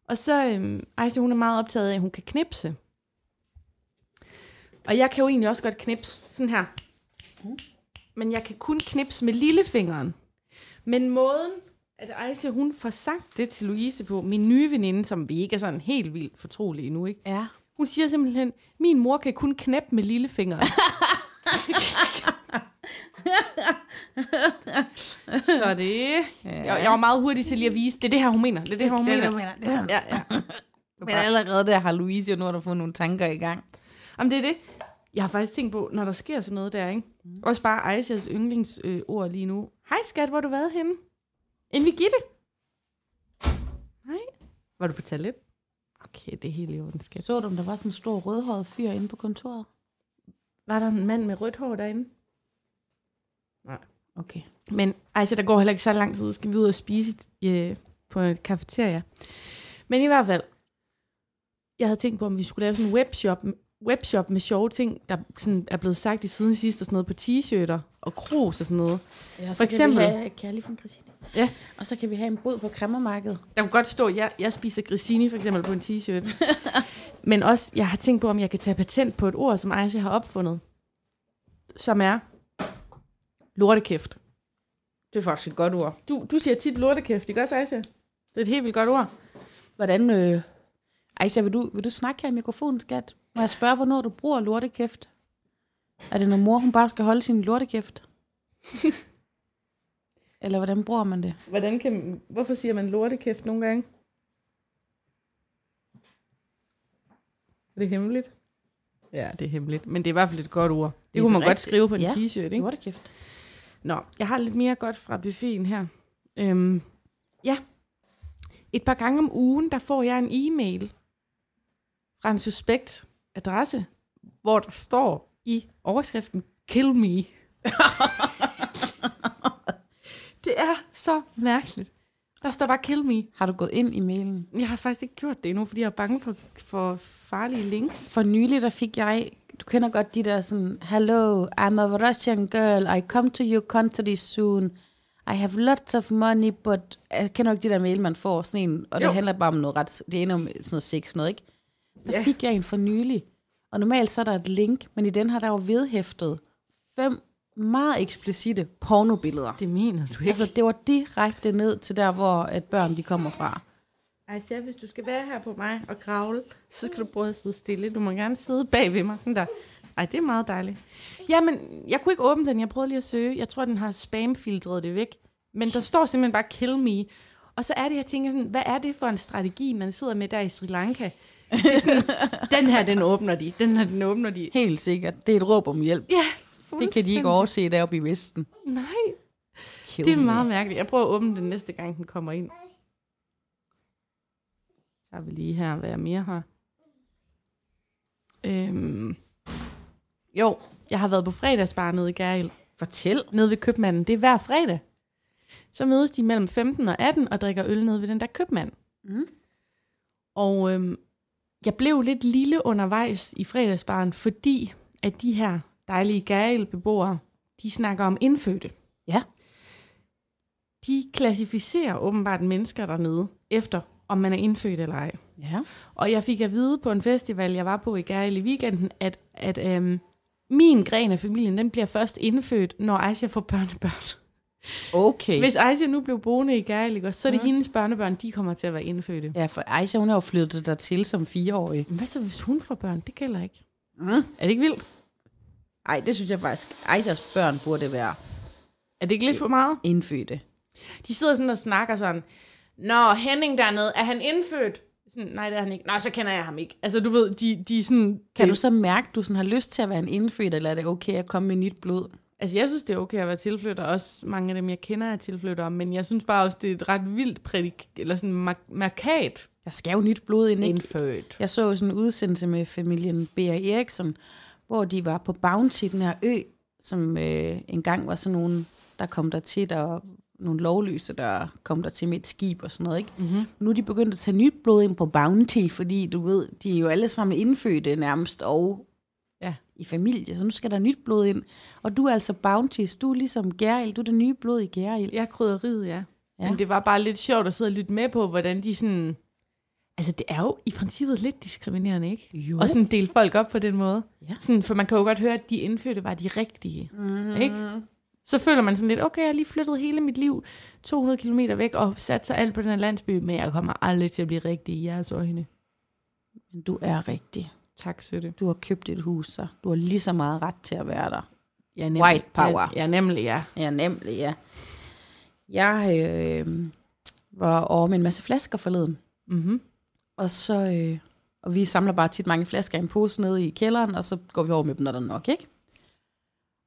[SPEAKER 2] Og så, øhm, Aisha, hun er meget optaget af, at hun kan knipse. Og jeg kan jo egentlig også godt knipse, sådan her. Mm. Men jeg kan kun knipse med lillefingeren. Men måden, at Aisha, hun får sagt det til Louise på, min nye veninde, som vi ikke er sådan helt vildt fortrolige endnu, ikke?
[SPEAKER 1] Ja.
[SPEAKER 2] Hun siger simpelthen, min mor kan kun knæppe med
[SPEAKER 1] <laughs>
[SPEAKER 2] lillefingeren. så det... Jeg, jeg var meget hurtig til lige at vise, det er det her, hun mener. Det er det her, hun
[SPEAKER 1] Det er
[SPEAKER 2] mener.
[SPEAKER 1] det, hun mener. Det er sådan.
[SPEAKER 2] ja, ja.
[SPEAKER 1] Men allerede der har Louise jo nu har der fået nogle tanker i gang.
[SPEAKER 2] Jamen, det er det. Jeg har faktisk tænkt på, når der sker sådan noget der, ikke?
[SPEAKER 1] Mm.
[SPEAKER 2] Også bare Aisas yndlingsord lige nu. Hej skat, hvor har du været henne? En Vigitte? Nej. Var du på toilet? Okay, det er helt i orden, skat.
[SPEAKER 1] Så du, om der var sådan en stor rødhåret fyr inde på kontoret?
[SPEAKER 2] Var der en mand med rødt hår derinde?
[SPEAKER 1] Okay.
[SPEAKER 2] Men altså, der går heller ikke så lang tid, skal vi ud og spise øh, på et kafeteria. Men i hvert fald, jeg havde tænkt på, om vi skulle lave sådan en webshop, webshop med sjove ting, der sådan er blevet sagt i siden sidst, og sådan noget på t-shirter og krus og sådan noget.
[SPEAKER 1] Ja,
[SPEAKER 2] For eksempel-
[SPEAKER 1] Kan vi have, kan jeg lige få en Christine?
[SPEAKER 2] Ja.
[SPEAKER 1] Og så kan vi have en bod på kræmmermarkedet.
[SPEAKER 2] Der kunne godt stå, at jeg, jeg spiser grissini for eksempel på en t-shirt. Men også, jeg har tænkt på, om jeg kan tage patent på et ord, som Aisha har opfundet, som er lortekæft. Det er faktisk et godt ord. Du, du siger tit lortekæft, ikke også, Aisha? Det er et helt vildt godt ord.
[SPEAKER 1] Hvordan, øh... Aisha, vil du, vil du snakke her i mikrofonen, skat? Må jeg spørge, hvornår du bruger lortekæft? Er det, når mor hun bare skal holde sin <laughs> lortekæft? Eller hvordan bruger man det?
[SPEAKER 2] Hvordan kan, hvorfor siger man lortekæft nogle gange? Er det hemmeligt? Ja, det er hemmeligt. Men det er i hvert fald et godt ord. Det,
[SPEAKER 1] er
[SPEAKER 2] det kunne man
[SPEAKER 1] et
[SPEAKER 2] godt
[SPEAKER 1] rigtigt-
[SPEAKER 2] skrive på en
[SPEAKER 1] ja.
[SPEAKER 2] t-shirt, ikke?
[SPEAKER 1] Lortekæft.
[SPEAKER 2] Nå, jeg har lidt mere godt fra buffeten her. Øhm, ja. Et par gange om ugen, der får jeg en e-mail fra en suspekt adresse, hvor der står i overskriften, kill <laughs> me. det er så mærkeligt. Der står bare kill me.
[SPEAKER 1] Har du gået ind i mailen?
[SPEAKER 2] Jeg har faktisk ikke gjort det endnu, fordi jeg er bange for, for farlige links.
[SPEAKER 1] For nylig, der fik jeg... Du kender godt de der sådan... Hello, I'm a Russian girl. I come to your country soon. I have lots of money, but... Jeg kender du ikke de der mail, man får sådan en... Og jo.
[SPEAKER 2] Jo.
[SPEAKER 1] det handler bare om noget ret... Det ender om sådan noget sex, noget, ikke? Der yeah. fik jeg en for nylig. Og normalt så er der et link, men i den her, der var vedhæftet fem meget eksplicite pornobilleder.
[SPEAKER 2] Det mener du ikke.
[SPEAKER 1] Altså, det var direkte ned til der, hvor at børn de kommer fra.
[SPEAKER 2] Aisha, hvis du skal være her på mig og kravle, så skal du
[SPEAKER 1] Mm.
[SPEAKER 2] prøve at sidde stille. Du må gerne sidde bag ved mig, sådan der. Ej, det er meget dejligt. Jamen, jeg kunne ikke åbne den. Jeg prøvede lige at søge. Jeg tror, den har spamfiltreret det væk. Men der står simpelthen bare, kill me. Og så er det, jeg tænker sådan, hvad er det for en strategi, man sidder med der i Sri Lanka? Det er sådan, den her, den åbner de. Den her, den åbner
[SPEAKER 1] <laughs>
[SPEAKER 2] de.
[SPEAKER 1] Helt sikkert. Det er et råb om hjælp.
[SPEAKER 2] Ja,
[SPEAKER 1] Det kan de ikke
[SPEAKER 2] fuldstændig.
[SPEAKER 1] overse deroppe i Vesten.
[SPEAKER 2] Nej,
[SPEAKER 1] Kill
[SPEAKER 2] det er
[SPEAKER 1] me.
[SPEAKER 2] meget mærkeligt. Jeg prøver at åbne den næste gang, den kommer ind. Så har vi lige her, hvad jeg mere har. Øhm. Jo, jeg har været på fredagsbar nede i Gærhild.
[SPEAKER 1] Fortæl.
[SPEAKER 2] Nede ved købmanden. Det er hver fredag. Så mødes de mellem 15 og 18 og drikker øl nede ved den der købmand.
[SPEAKER 1] Mm.
[SPEAKER 2] Og øhm, jeg blev lidt lille undervejs i fredagsbaren, fordi at de her dejlige Gærhild-beboere, de snakker om indfødte.
[SPEAKER 1] Ja.
[SPEAKER 2] De klassificerer åbenbart mennesker dernede efter, om man er indfødt eller ej.
[SPEAKER 1] Ja.
[SPEAKER 2] Og jeg fik at vide på en festival, jeg var på i Gæril i weekenden, at, at øhm, min gren af familien, den bliver først indfødt, når Aisha får børnebørn.
[SPEAKER 1] Okay. Hvis...
[SPEAKER 2] Hvis Aisha nu blev boende i Gæril, ikke også, så er det
[SPEAKER 1] Ja.
[SPEAKER 2] hendes børnebørn, de kommer til at være indfødte.
[SPEAKER 1] Ja, for Aisha, hun er jo flyttet dertil som fireårig.
[SPEAKER 2] Men hvad så, hvis hun får børn? Det gælder ikke.
[SPEAKER 1] Mm.
[SPEAKER 2] Er det ikke vildt?
[SPEAKER 1] Ej, det synes jeg faktisk. Aishas børn burde være
[SPEAKER 2] Er det ikke lidt for meget?
[SPEAKER 1] indfødte.
[SPEAKER 2] De sidder sådan og snakker sådan, Nå, Henning dernede, er han indfødt? Sådan, Nej, det er han ikke. Nå, så kender jeg ham ikke. Altså, du ved, de, de er sådan...
[SPEAKER 1] Kan
[SPEAKER 2] det-
[SPEAKER 1] du så mærke, at du sådan har lyst til at være en indfødt, eller er det okay at komme med nyt blod?
[SPEAKER 2] Altså, jeg synes, det er okay at være tilflytter. Også mange af dem, jeg kender, er tilflyttere. Men jeg synes bare også, det er et ret vildt prædik... Eller sådan mark- markat
[SPEAKER 1] Jeg skal jo nyt blod ind, ikke?
[SPEAKER 2] indfødt.
[SPEAKER 1] Jeg så jo sådan en udsendelse med familien B. Eriksen, hvor de var på Bounty, den her ø, som øh, engang var sådan nogen, der kom der til, der nogle lovløse, der kom der til med et skib og sådan noget, ikke? Mm-hmm. Nu er de begyndt at tage nyt blod ind på Bounty, fordi du ved, de er jo alle sammen indfødte nærmest, og
[SPEAKER 2] Ja.
[SPEAKER 1] i familie, så nu skal der nyt blod ind. Og du er altså Bounties, du er ligesom Gerild, du er det nye blod i Gerild.
[SPEAKER 2] Jeg er krydderiet, ja. ja.
[SPEAKER 1] Ja.
[SPEAKER 2] Men det var bare lidt sjovt at sidde og lytte med på, hvordan de sådan... Altså, det er jo i princippet lidt diskriminerende, ikke?
[SPEAKER 1] Jo.
[SPEAKER 2] Og sådan dele folk op på den måde.
[SPEAKER 1] Ja.
[SPEAKER 2] Sådan, for man kan jo godt høre, at de indfødte var de rigtige. Mm. Ikke? Så føler man sådan lidt, okay, jeg har lige flyttet hele mit liv 200 km væk og sat sig alt på den her landsby, men jeg kommer aldrig til at blive rigtig i jeres øjne.
[SPEAKER 1] Men du er rigtig.
[SPEAKER 2] Tak, Søtte.
[SPEAKER 1] Du har købt et hus, så du har lige så meget ret til at være der.
[SPEAKER 2] Ja, nemlig.
[SPEAKER 1] White power.
[SPEAKER 2] Ja, ja nemlig, ja.
[SPEAKER 1] Ja, nemlig, ja. Jeg øh, var over med en masse flasker forleden,
[SPEAKER 2] Mm-hmm.
[SPEAKER 1] og så... Øh, og vi samler bare tit mange flasker i en pose nede i kælderen, og så går vi over med dem, når der er nok, ikke?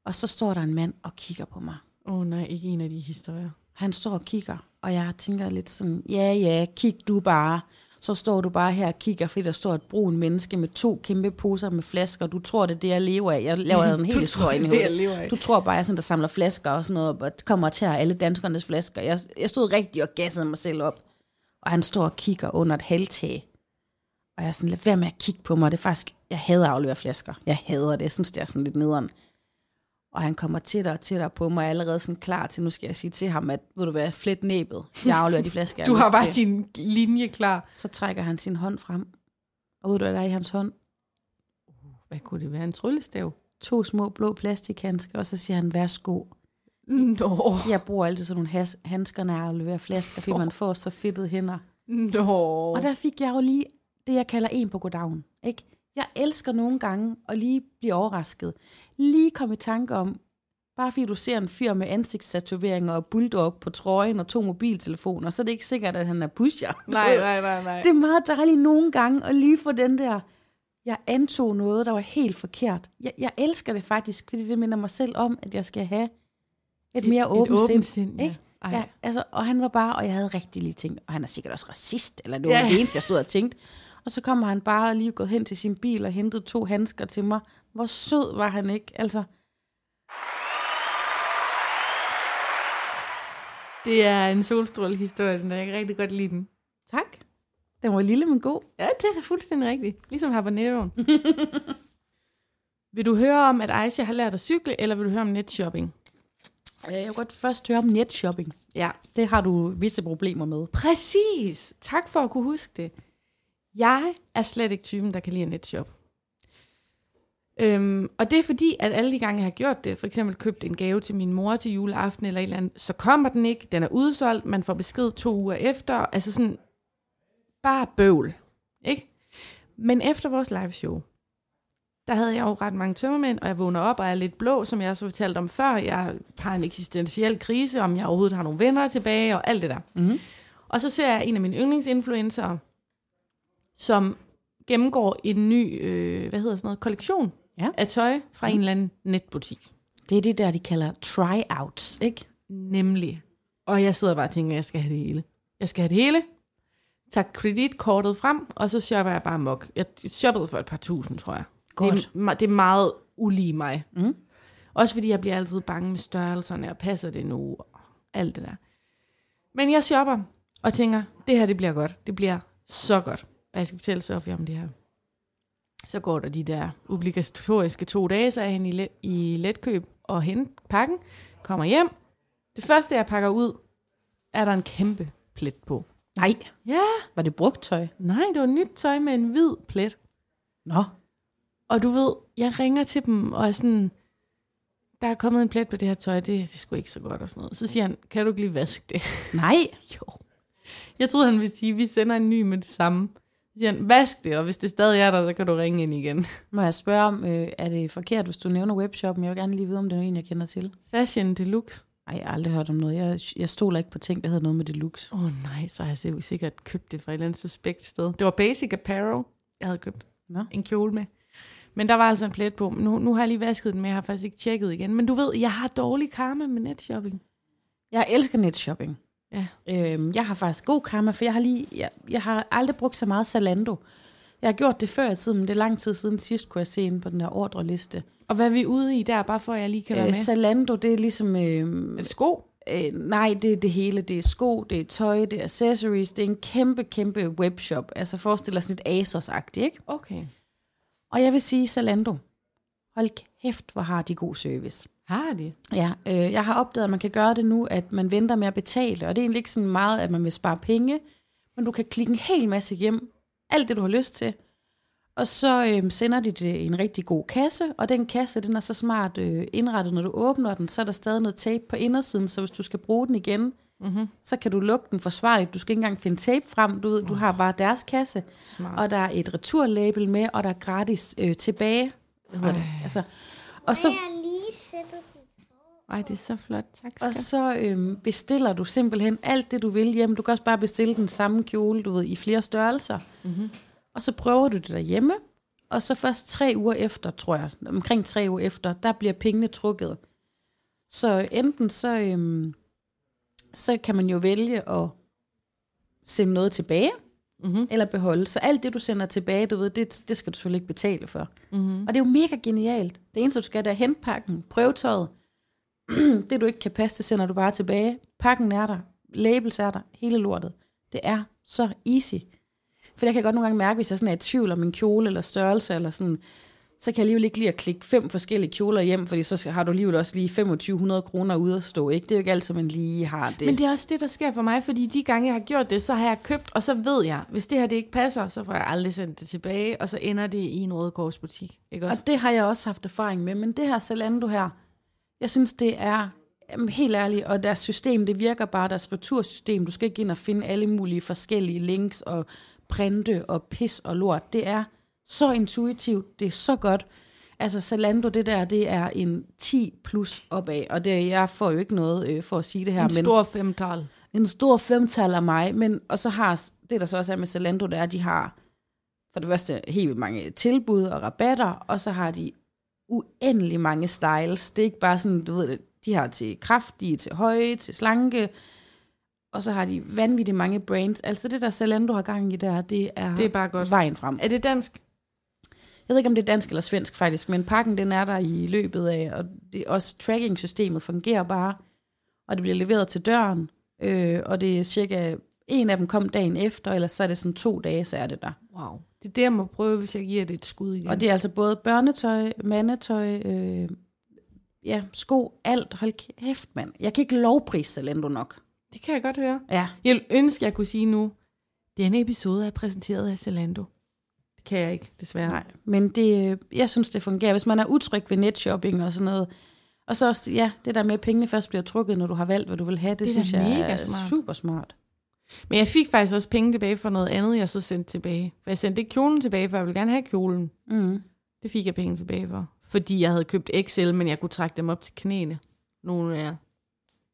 [SPEAKER 1] Og så står der en mand og kigger på mig.
[SPEAKER 2] Åh oh, nej, ikke en af de historier.
[SPEAKER 1] Han står og kigger, og jeg tænker lidt sådan, ja ja, kig du bare. Så står du bare her og kigger, fordi der står et brun menneske med to kæmpe poser med flasker. Du tror, det er det, jeg lever af. Jeg
[SPEAKER 2] <laughs>
[SPEAKER 1] laver en hel historie ind i
[SPEAKER 2] det, jeg
[SPEAKER 1] hovedet.
[SPEAKER 2] lever af.
[SPEAKER 1] Du tror bare, jeg er sådan, der samler flasker og sådan noget, og kommer til at alle danskernes flasker. Jeg, jeg stod rigtig og gassede mig selv op. Og han står og kigger under et halvtag. Og jeg er sådan, lad være med at kigge på mig. Det er faktisk, jeg hader at aflevere flasker. Jeg hader det. Jeg synes, det er sådan lidt nederen. Og han kommer tættere og tættere på mig, og er allerede sådan klar til, nu skal jeg sige til ham, at vil du være flet næbet. Jeg afleverer de flasker, jeg
[SPEAKER 2] <laughs> Du har
[SPEAKER 1] lyst
[SPEAKER 2] bare
[SPEAKER 1] til.
[SPEAKER 2] din linje klar.
[SPEAKER 1] Så trækker han sin hånd frem. Og ved du, hvad der er i hans hånd?
[SPEAKER 2] Hvad kunne det være? En tryllestav?
[SPEAKER 1] To små blå plastikhandsker, og så siger han, værsgo.
[SPEAKER 2] Nå,
[SPEAKER 1] Jeg bruger altid sådan nogle has- handsker, når jeg afleverer flasker, fordi man får så fedtede hænder.
[SPEAKER 2] nå.
[SPEAKER 1] Og der fik jeg jo lige det, jeg kalder en på goddagen. Ikke? Jeg elsker nogle gange at lige blive overrasket. Lige komme i tanke om, bare fordi du ser en fyr med ansigtstatoveringer og bulldog på trøjen og to mobiltelefoner, så er det ikke sikkert, at han er pusher.
[SPEAKER 2] Nej, nej, nej, nej.
[SPEAKER 1] Det er meget dejligt nogle gange at lige få den der, jeg antog noget, der var helt forkert. Jeg, jeg elsker det faktisk, fordi det minder mig selv om, at jeg skal have et mere åbent sind.
[SPEAKER 2] sind
[SPEAKER 1] ikke?
[SPEAKER 2] Ja.
[SPEAKER 1] Ja,
[SPEAKER 2] Ej.
[SPEAKER 1] altså, og han var bare, og jeg havde rigtig lige tænkt, og han er sikkert også racist, eller det var
[SPEAKER 2] Ja.
[SPEAKER 1] det eneste, jeg stod og tænkte. Og så kommer han bare og lige gået hen til sin bil og hentede to handsker til mig. Hvor sød var han ikke? Altså,
[SPEAKER 2] Det er en solstrålehistorie, den er jeg kan rigtig godt lide den.
[SPEAKER 1] tak. Den var lille, men god.
[SPEAKER 2] Ja, det er fuldstændig rigtigt. Ligesom habaneroen. <laughs> vil du høre om, at Aisha har lært at cykle, eller vil du høre om netshopping?
[SPEAKER 1] Øh, Jeg vil godt først høre om netshopping.
[SPEAKER 2] Ja,
[SPEAKER 1] Det har du visse problemer med.
[SPEAKER 2] Præcis. Tak for at kunne huske det. Jeg er slet ikke typen, der kan lide en netshop. Øhm, og det er fordi, at alle de gange, jeg har gjort det, for eksempel købt en gave til min mor til juleaften eller et eller andet, så kommer den ikke, den er udsolgt, man får besked to uger efter, altså sådan bare bøvl, ikke? Men efter vores liveshow, der havde jeg jo ret mange tømmermænd, og jeg vågner op og er lidt blå, som jeg så fortalte om før. Jeg har en eksistentiel krise, om jeg overhovedet har nogle venner tilbage og alt det der.
[SPEAKER 1] Mhm.
[SPEAKER 2] Og så ser jeg en af mine yndlingsinfluencer, som gennemgår en ny, øh, hvad hedder sådan noget, kollektion
[SPEAKER 1] Ja.
[SPEAKER 2] af tøj fra en eller anden netbutik.
[SPEAKER 1] Det er det der, de kalder tryouts, ikke?
[SPEAKER 2] Nemlig. Og jeg sidder bare og tænker, jeg skal have det hele. Jeg skal have det hele. Tag kreditkortet frem, og så shopper jeg bare mok. Jeg shoppede for et par tusind, tror jeg. Det
[SPEAKER 1] Godt.
[SPEAKER 2] er, me- det er meget ulige mig.
[SPEAKER 1] Mm.
[SPEAKER 2] Også fordi jeg bliver altid bange med størrelserne, og passer det nu, og alt det der. Men jeg shopper, og tænker, det her det bliver godt. Det bliver så godt. Og jeg skal fortælle Sofie om det her. Så går der de der obligatoriske to dage, så er han i, let, i letkøb og hente pakken, kommer hjem. Det første, jeg pakker ud, er der en kæmpe plet på.
[SPEAKER 1] Nej,
[SPEAKER 2] Ja,
[SPEAKER 1] var det brugt tøj?
[SPEAKER 2] nej, det var nyt tøj med en hvid plet.
[SPEAKER 1] Nå,
[SPEAKER 2] Og du ved, jeg ringer til dem og er sådan, der er kommet en plet på det her tøj, det, det er sgu ikke så godt og sådan noget. Så siger han, kan du ikke lige vaske det? <laughs>
[SPEAKER 1] nej.
[SPEAKER 2] jo. Jeg troede, han ville sige, vi sender en ny med det samme. Så siger han, vask det, og hvis det stadig er der, så kan du ringe ind igen.
[SPEAKER 1] Må jeg spørge om, øh, er det forkert, hvis du nævner webshoppen? Jeg vil gerne lige vide, om det er en, jeg kender til.
[SPEAKER 2] Fashion Deluxe.
[SPEAKER 1] Nej, jeg har aldrig hørt om noget. Jeg, jeg stoler ikke på ting, der hedder noget med deluxe.
[SPEAKER 2] Åh oh, nej, så har jeg selv- sikkert købt det fra et eller andet suspekt sted. Det var Basic Apparel, jeg havde købt
[SPEAKER 1] Nå.
[SPEAKER 2] en kjole med. Men der var altså en plet på. Nu, nu har jeg lige vasket den, men jeg har faktisk ikke tjekket igen. Men du ved, jeg har dårlig karma med netshopping.
[SPEAKER 1] Jeg elsker netshopping.
[SPEAKER 2] Ja.
[SPEAKER 1] Øhm, jeg har faktisk god karma, for jeg har, lige, jeg, jeg har aldrig brugt så meget Zalando. Jeg har gjort det før i tiden, men det er lang tid siden sidst, kunne jeg se inde på den her ordreliste.
[SPEAKER 2] Og hvad er vi ude i der, bare for at jeg lige kan være
[SPEAKER 1] Øh,
[SPEAKER 2] med?
[SPEAKER 1] Zalando, det er ligesom... Øh,
[SPEAKER 2] Et sko?
[SPEAKER 1] øh, nej, det er det hele. Det er sko, det er tøj, det er accessories. Det er en kæmpe, kæmpe webshop. Altså forestil dig sådan lidt Asos-agtigt, ikke?
[SPEAKER 2] Okay.
[SPEAKER 1] Og jeg vil sige Zalando. Hold kæft, hvor har de god service.
[SPEAKER 2] Har de?
[SPEAKER 1] Ja, øh, jeg har opdaget, at man kan gøre det nu, at man venter med at betale, og det er egentlig ikke sådan meget, at man vil spare penge, men du kan klikke en hel masse hjem, alt det, du har lyst til, og så øh, sender de det i en rigtig god kasse, og den kasse, den er så smart øh, indrettet, når du åbner den, så er der stadig noget tape på indersiden, så hvis du skal bruge den igen, mm-hmm. så kan du lukke den forsvarligt, du skal ikke engang finde tape frem, du, ved, du har bare deres kasse,
[SPEAKER 2] Smart.
[SPEAKER 1] og der er et returlabel med, og der er gratis øh, tilbage, hvad hedder det? Altså, og så...
[SPEAKER 3] Jeg har lige sættet det.
[SPEAKER 2] Ej, det er så flot. Tak skal
[SPEAKER 1] Og så øhm, bestiller du simpelthen alt det, du vil hjem. Du kan også bare bestille den samme kjole, du ved, i flere størrelser. Mm-hmm. Og så prøver du det derhjemme, Og så først tre uger efter, tror jeg, omkring tre uger efter, der bliver pengene trukket. Så enten så, øhm, så kan man jo vælge at sende noget tilbage, mm-hmm. eller beholde. Så alt det, du sender tilbage, du ved, det, det skal du selvfølgelig ikke betale for. Mm-hmm. Og det er jo mega genialt. Det eneste, du skal, det er at hente pakken, prøvetøjet. <clears throat> det, du ikke kan passe, det sender du bare tilbage. Pakken er der, labels er der, hele lortet. Det er så easy. For jeg kan godt nogle gange mærke, hvis jeg sådan er i tvivl om min kjole eller størrelse, eller sådan, så kan jeg alligevel ikke lige at klikke fem forskellige kjoler hjem, fordi så har du alligevel også lige 2500 kroner ude at stå, ikke? Det er jo ikke altid, man lige har det.
[SPEAKER 2] Men det er også det, der sker for mig, fordi de gange, jeg har gjort det, så har jeg købt, og så ved jeg, hvis det her det ikke passer, så får jeg aldrig sendt det tilbage, og så ender det i en Røde Kors butik. Ikke også?
[SPEAKER 1] Og det har jeg også haft erfaring med, men det her Zalando her, jeg synes, det er jamen, helt ærligt, og deres system, det virker bare, deres retursystem, du skal ikke ind og finde alle mulige forskellige links og printe og pis og lort. Det er så intuitivt, det er så godt. Altså Zalando, det der, det er en 10 plus opad, og det, jeg får jo ikke noget øh, for at sige det her,
[SPEAKER 2] En stor femtal.
[SPEAKER 1] en stor femtal af mig, men, og så har, det der så også er med Zalando, det er, at de har for det første helt vildt mange tilbud og rabatter, og så har de uendelig mange styles. Det er ikke bare sådan, du ved det, de har til kraftige, til høje, til slanke, og så har de vanvittigt mange brands. Altså det der Zalando har gang i der, det er,
[SPEAKER 2] Det er bare godt.
[SPEAKER 1] vejen frem.
[SPEAKER 2] Er det dansk?
[SPEAKER 1] Jeg ved ikke, om det er dansk eller svensk faktisk, men pakken den er der i løbet af, og det er også tracking-systemet fungerer bare, og det bliver leveret til døren, øh, og det er cirka en af dem kom dagen efter, eller så er det sådan to dage, så er det der.
[SPEAKER 2] Wow. Det er det, jeg må prøve, hvis jeg giver det et skud igen.
[SPEAKER 1] Og det er altså både børnetøj, mandetøj, øh, ja, sko, alt. Hold kæft, mand. Jeg kan ikke lovprise Zalando nok.
[SPEAKER 2] det kan jeg godt høre.
[SPEAKER 1] Ja,
[SPEAKER 2] Jeg ville ønske, jeg kunne sige nu, denne episode er præsenteret af Zalando. Det kan jeg ikke, desværre.
[SPEAKER 1] Nej, men det, øh, jeg synes, det fungerer. Hvis man er utryg ved netshopping og sådan noget, og så også, ja, det der med, at pengene først bliver trukket, når du har valgt, hvad du vil have, det, det
[SPEAKER 2] Det er da
[SPEAKER 1] synes jeg
[SPEAKER 2] mega
[SPEAKER 1] er
[SPEAKER 2] smart.
[SPEAKER 1] super smart.
[SPEAKER 2] Men jeg fik faktisk også penge tilbage for noget andet, jeg så sendte tilbage. For jeg sendte ikke kjolen tilbage, for jeg ville gerne have kjolen.
[SPEAKER 1] Mm.
[SPEAKER 2] Det fik jeg penge tilbage for. Fordi jeg havde købt XL, men jeg kunne trække dem op til knæene. Nogle af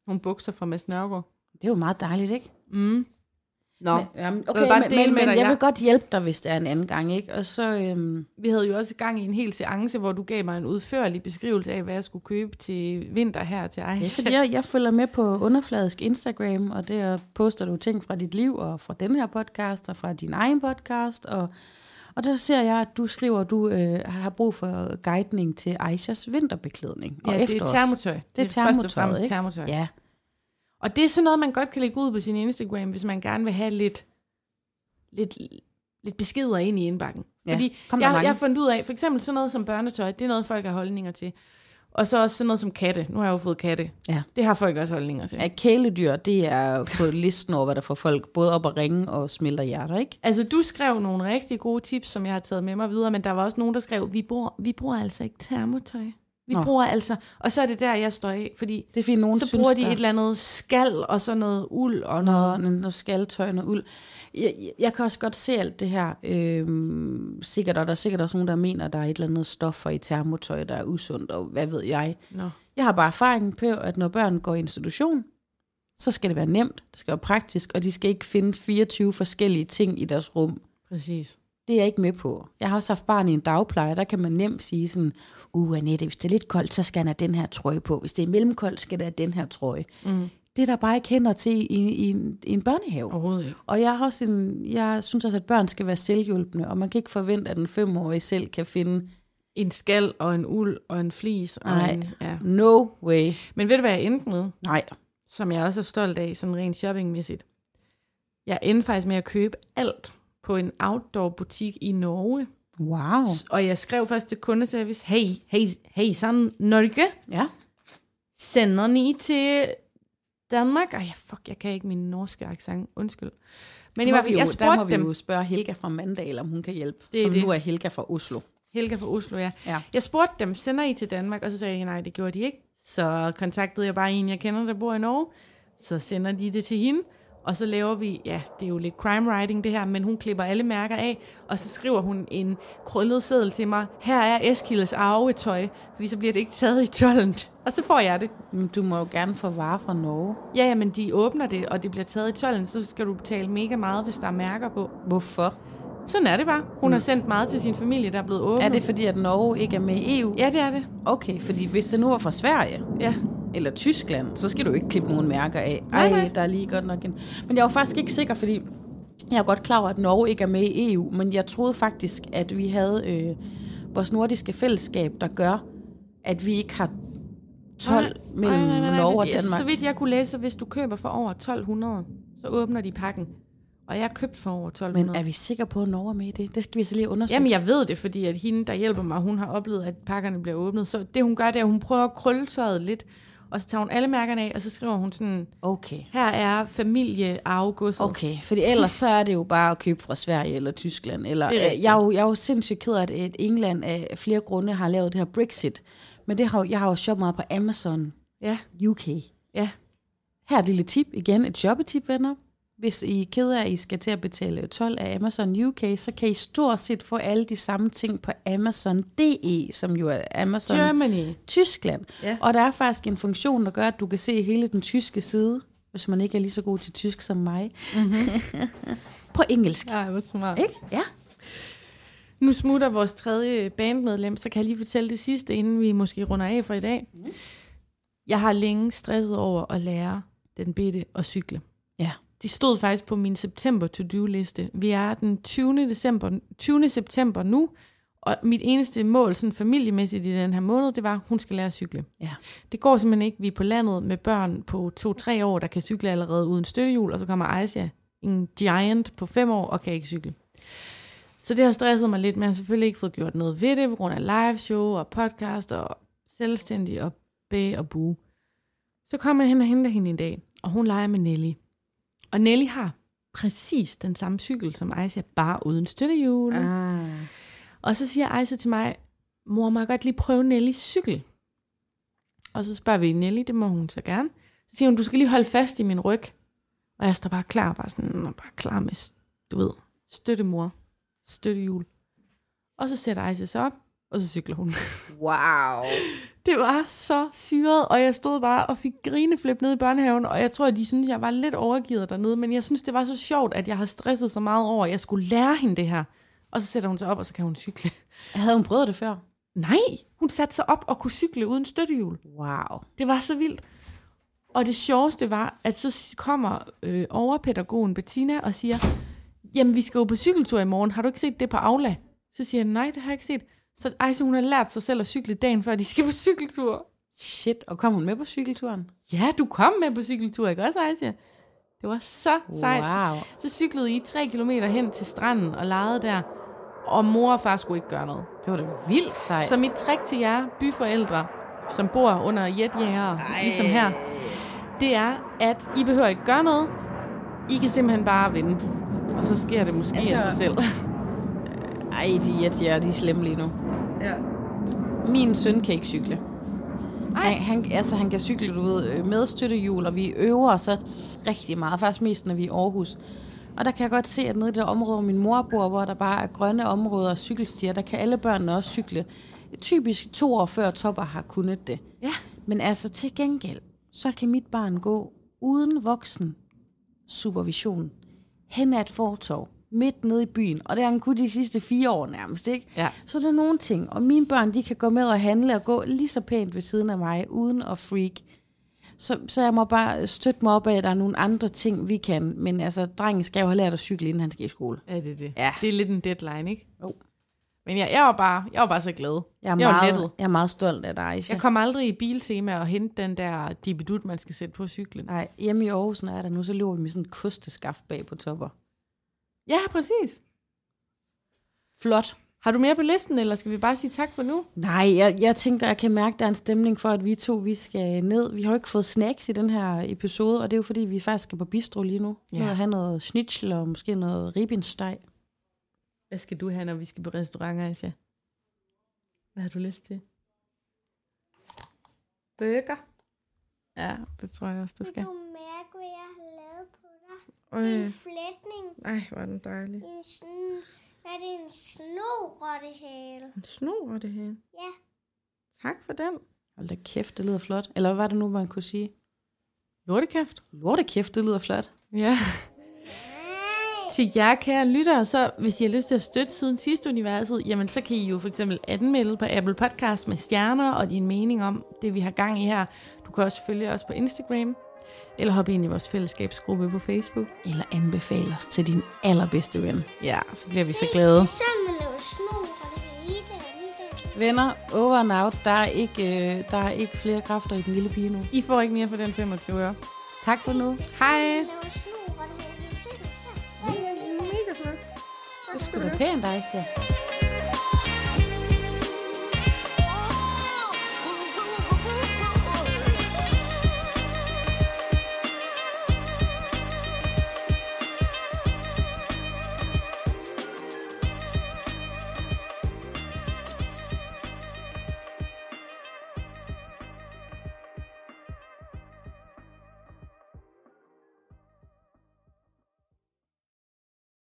[SPEAKER 2] nogle bukser fra Mads Nørgaard.
[SPEAKER 1] Det er jo meget dejligt, ikke?
[SPEAKER 2] Mm. Nå, men,
[SPEAKER 1] Men, jamen,
[SPEAKER 2] vil
[SPEAKER 1] okay,
[SPEAKER 2] bare
[SPEAKER 1] men,
[SPEAKER 2] dele
[SPEAKER 1] men,
[SPEAKER 2] med
[SPEAKER 1] men
[SPEAKER 2] dig,
[SPEAKER 1] jeg
[SPEAKER 2] ja.
[SPEAKER 1] vil godt hjælpe dig, hvis det er en anden gang, ikke? Og så, øhm,
[SPEAKER 2] vi havde jo også gang i en hel seance, hvor du gav mig en udførlig beskrivelse af, hvad jeg skulle købe til vinter her til Ejse.
[SPEAKER 1] jeg, jeg følger med på underfladisk Instagram, og der poster du ting fra dit liv, og fra den her podcast, og fra din egen podcast, og, og der ser jeg, at du skriver, at du øh, har brug for guidning til Aishas vinterbeklædning. Og
[SPEAKER 2] Ja, det er
[SPEAKER 1] efterårs.
[SPEAKER 2] termotøj. Det
[SPEAKER 1] Det er
[SPEAKER 2] først og
[SPEAKER 1] termotøjet,
[SPEAKER 2] fremmest
[SPEAKER 1] ikke?
[SPEAKER 2] termotøj.
[SPEAKER 1] Ja.
[SPEAKER 2] Og det er sådan noget, man godt kan lægge ud på sin Instagram, hvis man gerne vil have lidt, lidt, lidt beskeder ind i indbakken.
[SPEAKER 1] Ja,
[SPEAKER 2] Fordi
[SPEAKER 1] kom der
[SPEAKER 2] jeg,
[SPEAKER 1] mange.
[SPEAKER 2] jeg har fundet ud af, for eksempel sådan noget som børnetøj, det er noget, folk har holdninger til. Og så også sådan noget som katte. Nu har jeg jo fået katte.
[SPEAKER 1] Ja.
[SPEAKER 2] Det har folk også holdninger til.
[SPEAKER 1] At kæledyr, det er på listen over, hvad der får folk både op at ringe og smelter hjerter, ikke?
[SPEAKER 2] Altså, du skrev nogle rigtig gode tips, som jeg har taget med mig videre, men der var også nogen, der skrev, vi bruger, vi bruger altså ikke termotøj. Vi
[SPEAKER 1] Nå.
[SPEAKER 2] Nå. bruger altså... Og så er det der, jeg står af, fordi
[SPEAKER 1] Det er fordi, nogen
[SPEAKER 2] så
[SPEAKER 1] synes,
[SPEAKER 2] bruger de
[SPEAKER 1] der-
[SPEAKER 2] et eller andet skal og sådan noget uld og noget...
[SPEAKER 1] og noget, noget skaltøj, noget uld. Jeg, jeg, jeg kan også godt se alt det her. Øhm, sikkert, og der er sikkert også nogen, der mener, at der er et eller andet stoffer i termotøj, der er usundt, og hvad ved jeg.
[SPEAKER 2] Nå.
[SPEAKER 1] Jeg har bare erfaringen på, at når børn går i institution, så skal det være nemt, det skal være praktisk, og de skal ikke finde 24 forskellige ting i deres rum.
[SPEAKER 2] Præcis.
[SPEAKER 1] Det er jeg ikke med på. Jeg har også haft barn i en dagpleje, der kan man nemt sige sådan, uh Annette, hvis det er lidt koldt, så skal han have den her trøje på. Hvis det er mellemkoldt, skal der have den her trøje. Mm. Det er der bare ikke hænder til i, i, en, i en børnehave.
[SPEAKER 2] Overhovedet ikke.
[SPEAKER 1] Og jeg, har også en, jeg synes også, at børn skal være selvhjulpende, og man kan ikke forvente, at en femårig selv kan finde,
[SPEAKER 2] en skal og en uld og en flis. Og
[SPEAKER 1] Nej.
[SPEAKER 2] En, ja.
[SPEAKER 1] no way,
[SPEAKER 2] Men ved du, hvad jeg endte med?
[SPEAKER 1] nej,
[SPEAKER 2] Som jeg også er stolt af, sådan rent shoppingmæssigt. Jeg endte faktisk med at købe alt på en outdoor-butik i Norge.
[SPEAKER 1] wow,
[SPEAKER 2] Og jeg skrev først til kundeservice, hey, hey, hey, sådan Norge,
[SPEAKER 1] ja,
[SPEAKER 2] sender ni til Danmark? Ej, fuck, jeg kan ikke min norske accent, undskyld. Men i
[SPEAKER 1] må
[SPEAKER 2] hvert
[SPEAKER 1] vi
[SPEAKER 2] fald,
[SPEAKER 1] jo,
[SPEAKER 2] jeg
[SPEAKER 1] der må
[SPEAKER 2] spurgte
[SPEAKER 1] vi
[SPEAKER 2] dem,
[SPEAKER 1] jo spørge Helga fra Mandal, om hun kan hjælpe,
[SPEAKER 2] Det er
[SPEAKER 1] som
[SPEAKER 2] det.
[SPEAKER 1] nu er Helga fra Oslo.
[SPEAKER 2] Helga fra Oslo, ja.
[SPEAKER 1] Ja.
[SPEAKER 2] Jeg spurgte dem, sender I til Danmark? Og så sagde jeg, nej, det gjorde de ikke. Så kontaktede jeg bare en, jeg kender, der bor i Norge. Så sender de det til hende. Og så laver vi, ja, det er jo lidt crime writing det her, men hun klipper alle mærker af, og så skriver hun en krøllet seddel til mig, her er Eskildes arvetøj, fordi så bliver det ikke taget i tollen. Og så får jeg det.
[SPEAKER 1] Men Du må jo gerne få varer fra Norge.
[SPEAKER 2] Ja, ja, men de åbner det, og det bliver taget i tollen, så skal du betale mega meget, hvis der er mærker på.
[SPEAKER 1] Hvorfor?
[SPEAKER 2] Sådan er det bare. Hun har sendt meget til sin familie, der er blevet åbnet.
[SPEAKER 1] Mm. Er det fordi, at Norge ikke er med i E EU?
[SPEAKER 2] Ja, det er det.
[SPEAKER 1] Okay, fordi hvis det nu var fra Sverige
[SPEAKER 2] Ja.
[SPEAKER 1] eller Tyskland, så skal du ikke klippe nogen mærker af. Ej,
[SPEAKER 2] Nej,
[SPEAKER 1] nej,
[SPEAKER 2] nej.
[SPEAKER 1] der er lige godt nok en... Men jeg var faktisk ikke sikker, fordi jeg er godt klar over, at Norge ikke er med i EU, men jeg troede faktisk, at vi havde øh, vores nordiske fællesskab, der gør, at vi ikke har 12 nej, mellem nej, nej, nej, Norge og
[SPEAKER 2] men
[SPEAKER 1] Danmark.
[SPEAKER 2] Så vidt jeg kunne læse, så hvis du køber for over 1200, så åbner de pakken. Og jeg har købt for over 1200.
[SPEAKER 1] Men er vi sikre på, at Norge er med i det? Det skal vi så lige undersøge.
[SPEAKER 2] Jamen, jeg ved det, fordi at hende, der hjælper mig, hun har oplevet, at pakkerne bliver åbnet. Så det, hun gør, det er, at hun prøver at krølle tøjet lidt, og så tager hun alle mærkerne af, og så skriver hun sådan,
[SPEAKER 1] Okay.
[SPEAKER 2] her er familiearvegodset.
[SPEAKER 1] Okay, fordi ellers så er det jo bare at købe fra Sverige eller Tyskland. Eller,
[SPEAKER 2] Det er
[SPEAKER 1] jeg,
[SPEAKER 2] rigtigt.
[SPEAKER 1] jeg, er jo, jeg er jo sindssygt ked af, at at England af flere grunde har lavet det her Brexit. Men det har, jo- jeg har jo shoppet meget på Amazon
[SPEAKER 2] Ja,
[SPEAKER 1] UK.
[SPEAKER 2] ja.
[SPEAKER 1] Her er et lille tip igen, et shoppetip, venner. Hvis I er ked af, at I skal til at betale 12 af Amazon UK, så kan I stort set få alle de samme ting på Amazon.de, som jo er Amazon
[SPEAKER 2] Germany.
[SPEAKER 1] Tyskland.
[SPEAKER 2] Ja.
[SPEAKER 1] Og der er faktisk en funktion, der gør, at du kan se hele den tyske side, hvis man ikke er lige så god til tysk som mig, mm-hmm. <laughs> på engelsk.
[SPEAKER 2] Nej, hvor smart.
[SPEAKER 1] Ikke? Ja.
[SPEAKER 2] Nu smutter vores tredje bandmedlem, så kan jeg lige fortælle det sidste, inden vi måske runder af for i dag. Jeg har længe stresset over at lære den bitte at cykle.
[SPEAKER 1] Ja.
[SPEAKER 2] Det stod faktisk på min september to-do-liste. Vi er den 20. December, 20. september nu, og mit eneste mål sådan familiemæssigt i den her måned, det var, at hun skal lære at cykle.
[SPEAKER 1] Ja.
[SPEAKER 2] Det går simpelthen ikke. Vi er på landet med børn på 2-3 år, der kan cykle allerede uden støttehjul, og så kommer Aisha, en giant på 5 år, og kan ikke cykle. Så det har stresset mig lidt, men jeg har selvfølgelig ikke fået gjort noget ved det, på grund af live show og podcast og selvstændig og bæ og bu. Så kommer jeg hen og henter hende en dag, og hun leger med Nelly. Og Nelly har præcis den samme cykel som Aisha, bare uden støttehjul. Ja.
[SPEAKER 1] Ah.
[SPEAKER 2] Og så siger Aisha til mig, mor, må jeg godt lige prøve Nellys cykel? Og så spørger vi Nelly, det må hun så gerne. Så siger hun, du skal lige holde fast i min ryg. Og jeg står bare klar, bare sådan, og bare klar med, s- du ved, støttemor, støttehjul. Og så sætter Aisha sig op, og så cykler hun. <laughs>
[SPEAKER 1] Wow.
[SPEAKER 2] Det var så syret, og jeg stod bare og fik grineflip nede i børnehaven, og jeg tror, at de synes, jeg var lidt overgivet dernede, men jeg synes, det var så sjovt, at jeg har stresset så meget over, at jeg skulle lære hende det her. Og så sætter hun sig op, og så kan hun cykle.
[SPEAKER 1] Havde hun prøvet det før?
[SPEAKER 2] Nej, hun satte sig op og kunne cykle uden støttehjul.
[SPEAKER 1] Wow.
[SPEAKER 2] Det var så vildt. Og det sjoveste var, at så kommer øh, overpædagogen Bettina og siger, jamen vi skal jo på cykeltur i morgen, har du ikke set det på Aula? Så siger jeg, nej, det har jeg ikke set. Så Ejse, hun har lært sig selv at cykle dagen før, de skal på cykeltur.
[SPEAKER 1] Shit, og kom hun med på cykelturen?
[SPEAKER 2] Ja, du kom med på cykeltur, ikke også, Aisha? Det var så sejt.
[SPEAKER 1] Wow.
[SPEAKER 2] Så cyklede I tre kilometer hen til stranden og legede der, og mor og far skulle ikke gøre noget.
[SPEAKER 1] Det var da vildt sejt.
[SPEAKER 2] Så mit trick til jer byforældre, som bor under jetjæger, ligesom her, det er, at I behøver ikke gøre noget. I kan simpelthen bare vente. Og så sker det måske altså...
[SPEAKER 1] Altså-
[SPEAKER 2] af sig
[SPEAKER 1] <laughs>
[SPEAKER 2] selv.
[SPEAKER 1] Ej, de er, de er, de er slemme lige nu.
[SPEAKER 2] Ja.
[SPEAKER 1] Min søn kan ikke cykle.
[SPEAKER 2] Ej.
[SPEAKER 1] Han, han, altså, han kan cykle du ved, øh, med støttehjul, og vi øver så rigtig meget, faktisk mest når vi er i Aarhus. Og der kan jeg godt se, at nede i det område, hvor min mor bor, hvor der bare er grønne områder og cykelstier, der kan alle børnene også cykle. Typisk to år før topper har kunnet det.
[SPEAKER 2] Ja.
[SPEAKER 1] Men altså til gengæld, så kan mit barn gå uden voksen supervision hen ad et fortov, midt nede i byen, og det har han kunnet de sidste fire år nærmest, ikke?
[SPEAKER 2] Ja.
[SPEAKER 1] Så der er nogle ting, og mine børn, de kan gå med og handle og gå lige så pænt ved siden af mig, uden at freak. Så, så jeg må bare støtte mig op af, at der er nogle andre ting, vi kan, men altså, drengen skal jo have lært at cykle, inden han skal i skole.
[SPEAKER 2] ja, det er det.
[SPEAKER 1] Ja.
[SPEAKER 2] Det er lidt en deadline, ikke?
[SPEAKER 1] Jo.
[SPEAKER 2] Men ja, jeg, var bare, jeg var bare så glad.
[SPEAKER 1] Jeg er,
[SPEAKER 2] jeg var
[SPEAKER 1] meget,
[SPEAKER 2] lettet.
[SPEAKER 1] jeg er meget stolt af dig, Aisha.
[SPEAKER 2] Jeg kom aldrig i biltema og hente den der dibidut, man skal sætte på cyklen.
[SPEAKER 1] Nej, hjemme i Aarhus, når jeg er der nu, så løber vi med sådan en kosteskaft bag på topper.
[SPEAKER 2] Ja, præcis.
[SPEAKER 1] Flot.
[SPEAKER 2] Har du mere på listen, eller skal vi bare sige tak for nu?
[SPEAKER 1] Nej, jeg, jeg tænker, jeg kan mærke, at der er en stemning for, at vi to vi skal ned. Vi har jo ikke fået snacks i den her episode, og det er jo fordi, vi faktisk skal på bistro lige nu. Ja.
[SPEAKER 2] Ja.
[SPEAKER 1] Ned og have noget schnitzel og måske noget ribbensteg.
[SPEAKER 2] Hvad skal du have, når vi skal på restaurant, Aisha? Hvad har du lyst til? Burger. Ja, det tror jeg også, du skal.
[SPEAKER 3] Kan du mærke, hvad jeg har lavet på dig? En
[SPEAKER 2] Øh.
[SPEAKER 3] flætning.
[SPEAKER 2] Ej, hvor er den dejlig.
[SPEAKER 3] En sådan... Er det en snorottehale?
[SPEAKER 2] En snor det her.
[SPEAKER 3] Ja.
[SPEAKER 2] Tak for den.
[SPEAKER 1] Hold da kæft, det lyder flot. Eller hvad var det nu, man kunne sige?
[SPEAKER 2] Lortekæft.
[SPEAKER 1] Lorte kæft, det lyder flot.
[SPEAKER 2] Ja.
[SPEAKER 3] Nej.
[SPEAKER 2] til jer, kære lyttere, så hvis I har lyst til at støtte siden sidste universet, jamen så kan I jo for eksempel anmelde på Apple Podcast med stjerner og din mening om det, vi har gang i her. Du kan også følge os på Instagram, eller hoppe ind i vores fællesskabsgruppe på Facebook.
[SPEAKER 1] Eller anbefale os til din allerbedste ven.
[SPEAKER 2] Ja, så bliver vi så glade.
[SPEAKER 3] Så man laver snor og det hele der, og lige der.
[SPEAKER 1] Venner, over and out. Der er ikke, øh, der er ikke flere kræfter i den lille pige nu.
[SPEAKER 2] I får ikke mere for den 25 øre.
[SPEAKER 1] Tak for nu.
[SPEAKER 2] Hej!
[SPEAKER 3] Man laver snor og det hele. Se, her. Der er noget lille.
[SPEAKER 1] Det skulle da pænt, Aisha.